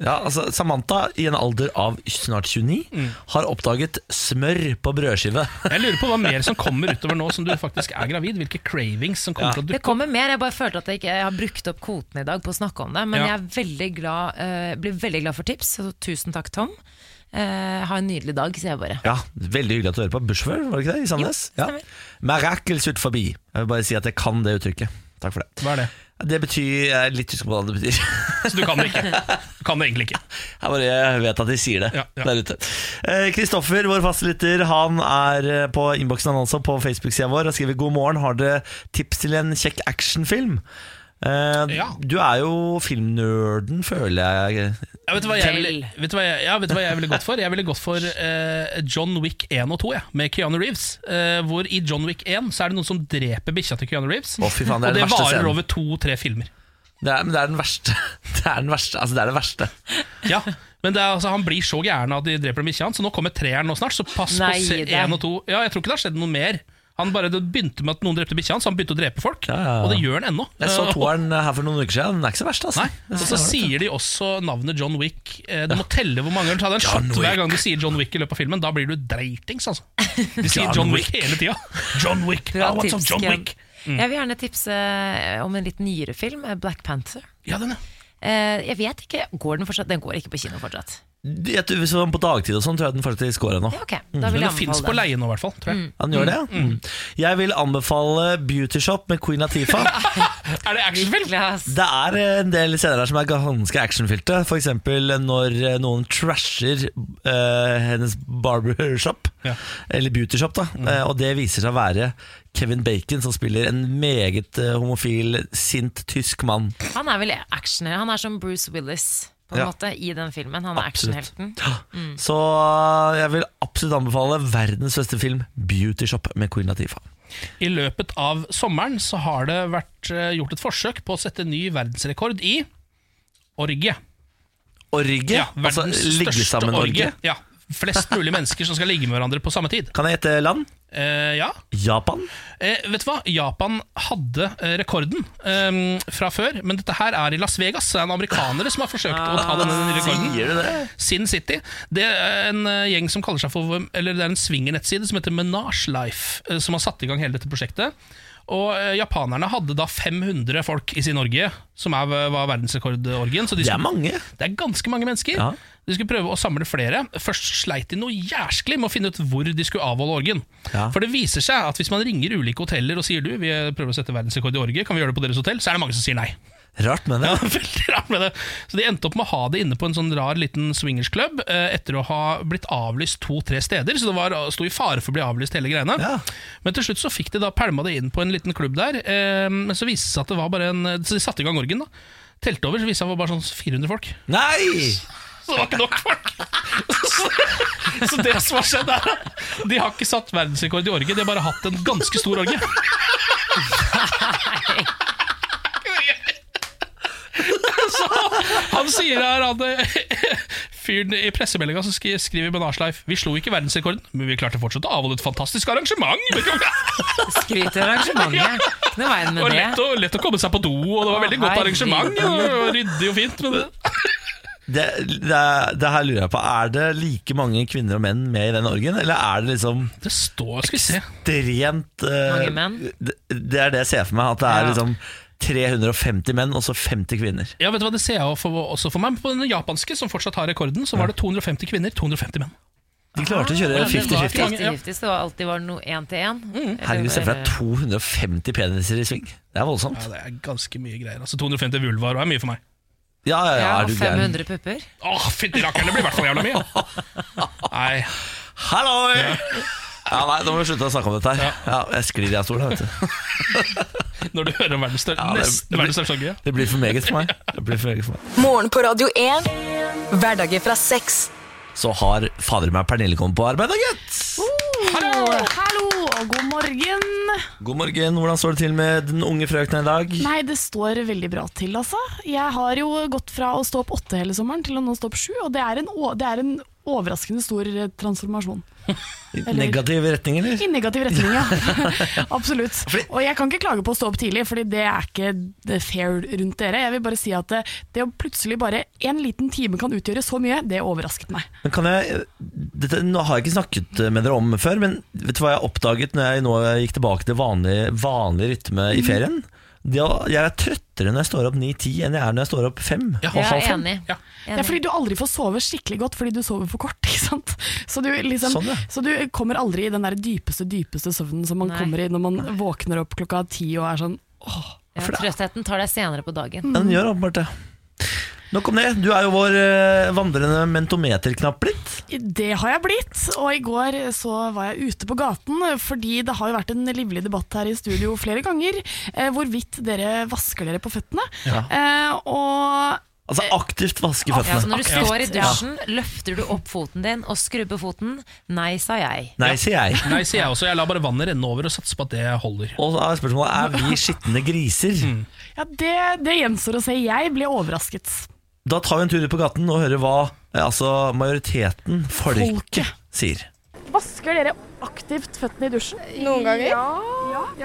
Ja, altså Samantha, i en alder av snart 29, har oppdaget smør på brødskive. Jeg lurer på hva mer som kommer utover nå som du faktisk er gravid. Hvilke cravings som kommer til å Det dukke kommer mer. Jeg bare følte at jeg ikke jeg har brukt opp kvoten i dag på å snakke om det. Men Ja. jeg er veldig glad, eh, blir veldig glad for tips, så tusen takk, Tom. Eh, ha en nydelig dag, sier jeg bare. Ja, Veldig hyggelig at du hører på. Bushfør, var det ikke det? I Sandnes? Jo, Ja. stemmer. Miracles ut forbi. Jeg vil bare si at jeg kan det uttrykket. Takk for det. Hva er det? Det betyr Jeg er litt usikker på hva det betyr. Så du kan det ikke. Du kan det egentlig ikke. Jeg bare vet at de sier det Ja, ja. der ute. Eh, Kristoffer, vår fasiliter, han er eh, på innboksen han også, på Facebook-sida vår, og skriver 'God morgen, har dere tips til en kjekk actionfilm'? Eh, Ja. Du er jo filmnerden, føler jeg. Ja, vet, du hva jeg ville, vet, du hva jeg, ja, vet du hva jeg ville gått for? Jeg ville gått for eh, John Wick 1 og 2 ja, med Keanu Reeves. Eh, hvor i John Wick 1 så er det noen som dreper bikkja til Keanu Reeves. Å, fy faen, det er og det den verste varer scenen. over to-tre filmer. Det er, men det er den verste. Det er den verste. Altså, det er det verste. Ja, men det er, altså, Han blir så gæren av at de dreper bikkja hans, så nå kommer treeren nå snart. Så pass Nei, på se det- én og to. Ja, jeg tror ikke det har skjedd noe mer. Han bare, det begynte med at noen drepte bikkja hans, så han begynte å drepe folk. Ja, ja, ja. Og det gjør han ennå. Jeg så Eh, og- toeren her for noen uker siden. Den er ikke så verst, altså. Nei, og så sier de også navnet John Wick. Eh, Du må telle hvor mange ganger du tar den John shot hver gang du sier John Wick i løpet av filmen. Da blir du dreitings, altså. De sier John John Wick Wick. hele tida. John Wick, Bra ah, what's up, tips, John Ken. Wick? Mm. Jeg vil gjerne tipse eh, om en litt nyere film, eh, Black Panther. Ja, den, ja. Eh, jeg vet ikke, går Den fortsatt? Den går ikke på kino fortsatt. Jeg tror Hvis det var på dagtid og sånn, tror jeg den faktisk går ennå. Ja, ok, da Men Mm. vil jeg den fins på anbefale den. leie nå, i hvert fall. Tror jeg. Han gjør det, ja. Mm. Mm. Jeg vil anbefale Beauty Shop med Queen Latifah. Er det actionfilm? Glass. Det er en del scener der som er ganske actionfylte. F.eks. når eh, noen trasher eh, hennes barbershop, Ja. Mm. eller beauty shop, da. Eh, og det viser seg å være Kevin Bacon, som spiller en meget eh, homofil, sint tysk mann. Han er vel actioner. Han er som Bruce Willis på en Ja. måte i den filmen. Han er Absolutt. actionhelten. Mm. Så eh, jeg vil absolutt anbefale verdens beste film, Beauty Shop med Queen Latifah. I løpet av sommeren så har det vært eh, gjort et forsøk på å sette ny verdensrekord i orgie. Orgie? Ja, altså verdens ligge største sammen orgie. orgie? Ja, flest mulig mennesker som skal ligge med hverandre på samme tid. Kan jeg gjette land? Eh, ja. Japan? Eh, vet du hva? Japan hadde eh, rekorden eh, fra før, men dette her er i Las Vegas. Så det er en amerikanere som har forsøkt å ta denne nye rekorden. Ah, Sier du det? Sin City. Det er en eh, gjeng som kaller seg for Eller det er en swingnettside som heter Menage Life, eh, som har satt i gang hele dette prosjektet. Og eh, japanerne hadde da 500 folk i sin orgie, som er, var verdensrekordorgien. Så de Det er skulle- mange. det er ganske mange mennesker. Ja. De skulle prøve å samle flere. Først sleit de noe jæsklig med å finne ut hvor de skulle avholde orgien. Ja. For det viser seg at hvis man ringer ulike hoteller og sier du, vi prøver å sette verdensrekord i orgie, kan vi gjøre det på deres hotell? Så er det mange som sier nei. Rart, men det. Ja, veldig rart med det. Så de endte opp med å ha det inne på en sånn rar liten swingersklubb eh, etter å ha blitt avlyst to-tre steder, så det var, sto i fare for å bli avlyst hele greiene. Ja. Men til slutt så fikk de da pælma det inn på en liten klubb der, eh, men så viste det seg at det var bare en Så de satte i gang orgien, da. Telte over, så viste det seg at det var bare sånn 400 folk. Nei! Så det var ikke nok folk. Så, så det som har skjedd, er at de har ikke satt verdensrekord i orgie, de har bare hatt en ganske stor orgie. Så han sier her at eh, fyren i pressemeldinga som skri- skriver Ben Arsleif Vi slo ikke verdensrekorden, men vi klarte fortsatt å avholde et fantastisk arrangement. Skryt av arrangementet. Ikke noe veien Det var med lett det. å, lett å komme seg på do, og det var veldig godt arrangement. og Ryddig og fint. Men det, Det, det, er- det her lurer jeg på. Er det like mange kvinner og menn med i den orgien, eller er det liksom det står Skal vi se. drent eh, Mange menn? Det, det er det jeg ser for meg. At det er Ja. liksom 350 menn og så 50 kvinner. Ja, vet du hva, Det ser jeg også for, også for meg. På den japanske, som fortsatt har rekorden, så var det 250 kvinner, 250 menn. De klarte å kjøre Ja, Ah, det var 50-50. 50-50, så det var alltid var noe én til én. Herregud, se for deg 250 peniser i sving. Det er voldsomt. Ja, Det er ganske mye greier. Altså 250 vulvaer er mye for meg. Ja, ja, ja, Ja, er og du gæren. 500 pupper. Åh, fytti rakkeren, det blir i hvert fall jævla mye. Nei, Halloi! Ja, nei, nå må vi slutte å snakke om dette her. Ja, jeg sklir i av stolen, vet du. Når du hører om verdens største, Ja, det- nesten verdens største orgie. Det blir for meget for meg. Det blir for meget for meg. Morgen på Radio 1. Hverdager fra seks. så har fader meg Pernille kommet på arbeid, da, gitt. Hallo, hallo og god morgen. God morgen, hvordan står det til med den unge frøkna i dag? Nei, det står veldig bra til, altså. Jeg har jo gått fra å stå opp åtte hele sommeren til å nå stå opp sju, og det er en, å- det er en overraskende stor eh, transformasjon. I Negativ retning, eller? I negativ retning, ja. Absolutt. Og jeg kan ikke klage på å stå opp tidlig, Fordi det er ikke det fair rundt dere. Jeg vil bare si at det, det å plutselig bare en liten time kan utgjøre så mye, det overrasket meg. Men kan jeg, dette, nå har jeg ikke snakket med dere om før, men vet du hva jeg oppdaget når jeg nå gikk tilbake til vanlig, vanlig rytme i ferien? Det å- Jeg er trøttere når jeg står opp 9-10 enn jeg er når jeg står opp 5. Ja, Ja, halv fem. enig. Ja. Det er fordi du aldri får sove skikkelig godt fordi du sover for kort. ikke sant? Så du, liksom, Sånn, ja. så du kommer aldri i den der dypeste dypeste søvnen som man Nei. kommer i når man våkner opp klokka ti og er sånn åh. Ja, trøttheten tar deg senere på dagen. Mhm. Den gjør åpenbart det. Nok om det. Du er jo vår eh, vandrende mentometerknapp blitt. Det har jeg blitt, og i går så var jeg ute på gaten, fordi det har jo vært en livlig debatt her i studio flere ganger, eh, hvorvidt dere vasker dere på føttene. Eh, og Altså aktivt vaske Ja, så føttene. når du står i dusjen, løfter du opp foten din og skrubber foten. Nei, sa jeg. Nei, sier jeg. Nei, sier jeg også. Jeg lar bare vannet renne over og satser på at det holder. Og da er spørsmålet, er vi skitne griser? Mm. ja, det, det gjenstår å se. Jeg ble overrasket. Da tar vi en tur ut på gaten og hører hva eh, altså, majoriteten, folket, Folket. sier. Vasker dere aktivt føttene i dusjen? Noen ganger? Ja,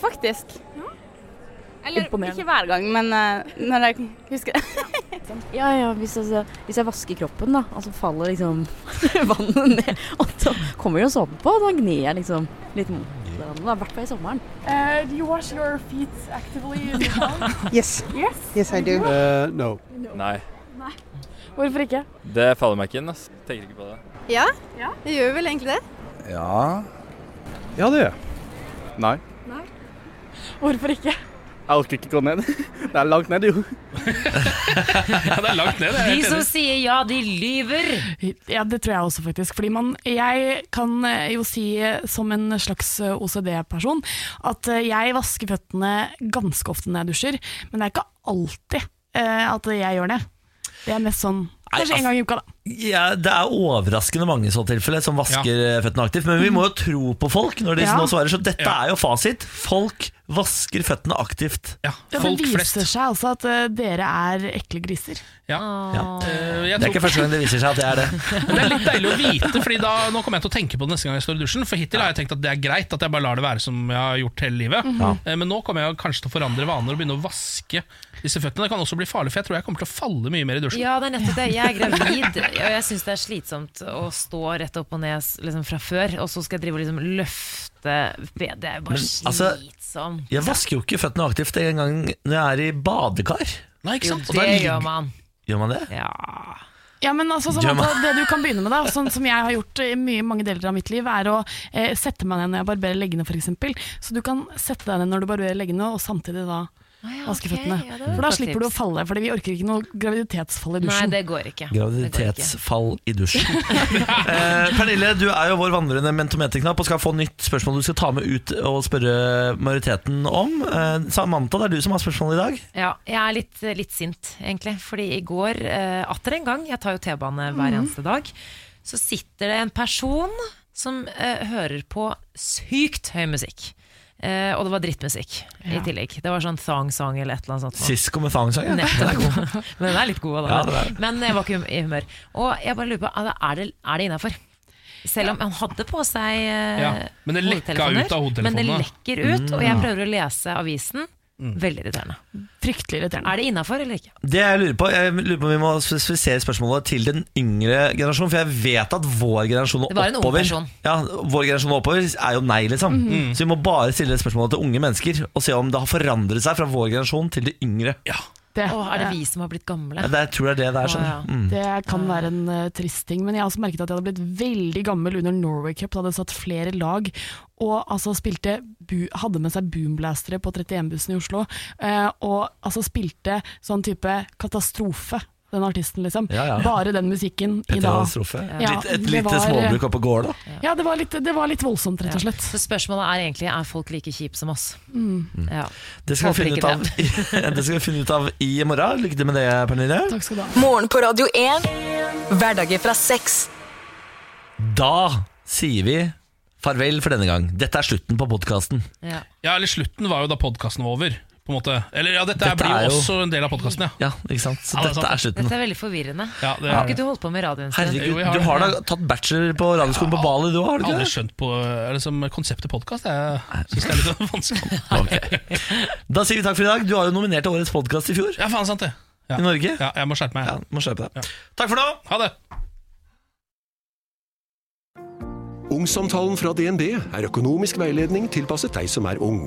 faktisk. Eller Imponerende. ikke hver gang, men eh, når jeg husker det. Ja, ja, hvis, altså, hvis jeg vasker kroppen, da, og så faller liksom vannet ned, og så kommer jo såpe på, og da gnir jeg liksom litt mot hverandre, da, i hvert fall i sommeren. Eh, do you wash your feet actively in the house? Yes. Yes. I do. Eh, Nei, Hvorfor ikke? det faller meg ikke inn. Ass. Tenker ikke på det. Ja, det gjør vel egentlig det. Ja Ja, det gjør jeg. Nei. Hvorfor ikke? Jeg orker ikke gå ned. Det er langt ned, jo. Ja, det er langt ned. De Jeg er helt som enig. sier ja, de lyver. Ja, det tror jeg også faktisk. Fordi man, jeg kan eh, jo si eh, som en slags eh, OCD-person at eh, jeg vasker føttene ganske ofte når jeg dusjer, men det er ikke alltid eh, at jeg gjør det. Det er mest sånn altså, kanskje en gang i uka, da. Ja, det er overraskende mange i så tilfelle som vasker eh, føttene aktivt, men vi må jo tro på folk når de Mm. Ja. nå svarer, så dette Ja. er jo fasit. Folk vasker føttene aktivt. Ja, Ja, folk det viser flest. seg altså at eh, dere er ekle griser. Ja. Eh, jeg Det er tror- ikke første gang det viser seg at det er det. Men Det er litt deilig å vite, Fordi da, nå kommer jeg til å tenke på det neste gang jeg står i dusjen. For hittil har jeg tenkt at det er greit at jeg bare lar det være som jeg har gjort hele livet. Eh, Men nå kommer jeg kanskje til å forandre vaner og begynne å vaske disse føttene. Det kan også bli farlig, for jeg tror jeg kommer til å falle mye mer i dusjen. Ja, det er nettopp det. Jeg er gravid og jeg syns det er slitsomt å stå rett opp og ned s- liksom, fra før, og så skal jeg drive og liksom løfte Det er jo Men, bare altså, slitsomt. Jeg vasker jo ikke føttene aktivt en gang når jeg er i badekar. Nei, ikke sant? Jo, Og da det ligger- gjør man. Gjør man det? Ja, men altså, sånn Gjør at man- det du kan begynne med, da, sånn som jeg har gjort i mye, mange deler av mitt liv, er å eh, sette meg ned når jeg barberer leggene, f.eks. Så du kan sette deg ned når du barberer leggene, og samtidig da vaske ok, føttene. Ah, ja, det var et for da godt slipper du å tips. falle, for vi orker ikke noe graviditetsfall i Nei, dusjen. det går ikke. Graviditetsfall i dusjen. eh, Pernille, du er jo vår vandrende mentometerknapp og skal få nytt spørsmål du skal ta med ut og spørre majoriteten om. Eh, Samantha, det er du som har spørsmålet i dag. Ja, jeg er litt, litt sint, egentlig. Fordi i går, eh, atter en gang, jeg tar jo T-bane Mm. hver eneste dag, så sitter det en person som eh, hører på sykt høy musikk. Eh, og det var drittmusikk i Ja. tillegg. Det var sånn thong-song eller et eller annet sånt. Sisko med thang-sang. Ja. Den er god. Nettopp. Men den er litt god, da. Ja, den er. Men jeg var ikke i humør. Og jeg bare lurer på, er det, er det innafor? Selv om han hadde på seg eh, Ja, men det lekka hodetelefoner, ut av hodetelefonene. Men det lekker ut, og Mm. jeg prøver å lese avisen. Mm. Veldig irriterende. Mm. Fryktelig irriterende. Er det innafor eller ikke? Det jeg lurer på, jeg lurer på om vi må spesifisere spørsmålet til den yngre generasjonen. For jeg vet at vår generasjon og Det var en ung oppover person. ja, Vår generasjon og oppover er jo nei, liksom. Mhm. Så vi må bare stille spørsmålet til unge mennesker og se om det har forandret seg fra vår generasjon til de yngre. Ja, Åh, er det vi som har blitt gamle? det, Jeg tror det er det det er. Sånn. Mm. Det kan være en eh, trist ting, men jeg har også merket at jeg hadde blitt veldig gammel under Norway Cup, da det satt flere lag og altså spilte bu hadde med seg boomblastere på 31-bussen i Oslo, eh, og altså spilte sånn type katastrofe. Den artisten, liksom. Ja, ja. Bare den musikken i dag. Katastrofe. Ja, Litt- et det lite var- småbruk oppe på gård, da. Ja, det var, litt, det var litt voldsomt, rett og slett. Så spørsmålet er egentlig er folk like kjipe som oss. Mm. Ja. Det skal, vi Håper finne ikke ut av, det skal vi finne ut av i morgen. Lykke til med det, Pernille. Takk skal du ha. Morgen på Radio 1. Hverdager fra seks. Da sier vi farvel for denne gang. Dette er slutten på podkasten. Ja. eller slutten var jo da podkasten var over. På en måte. Eller ja, dette, Dette blir er jo jo- også en del av podkasten, ja. ja. Ikke sant? Så Ja, det er dette sant. er slutten. Dette er veldig forvirrende. Ja, det er- Har ikke du holdt på med radioen sin? Herregud, du har da tatt bachelor på radioskolen på Bali, du òg, har du ikke Aldri det? skjønt på eller, som konseptet podkast. Jeg syns det er litt vanskelig. Da sier vi takk for i dag. Du har jo nominert til årets podkast i fjor. Ja, faen sant det. I Norge. Ja, jeg må skjerpe meg. Ja, må skjerpe deg. Takk for nå! Ha det! Ungsamtalen fra DNB er økonomisk veiledning tilpasset deg som er ung.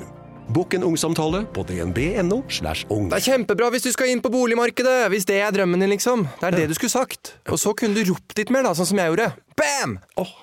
Bokk en ungsamtale på dnb.no. slash ung. Det er kjempebra hvis du skal inn på boligmarkedet, hvis det er drømmen din, liksom. Det er det du skulle sagt. Og så kunne du ropt litt mer, da, sånn som jeg gjorde. Bam! Åh,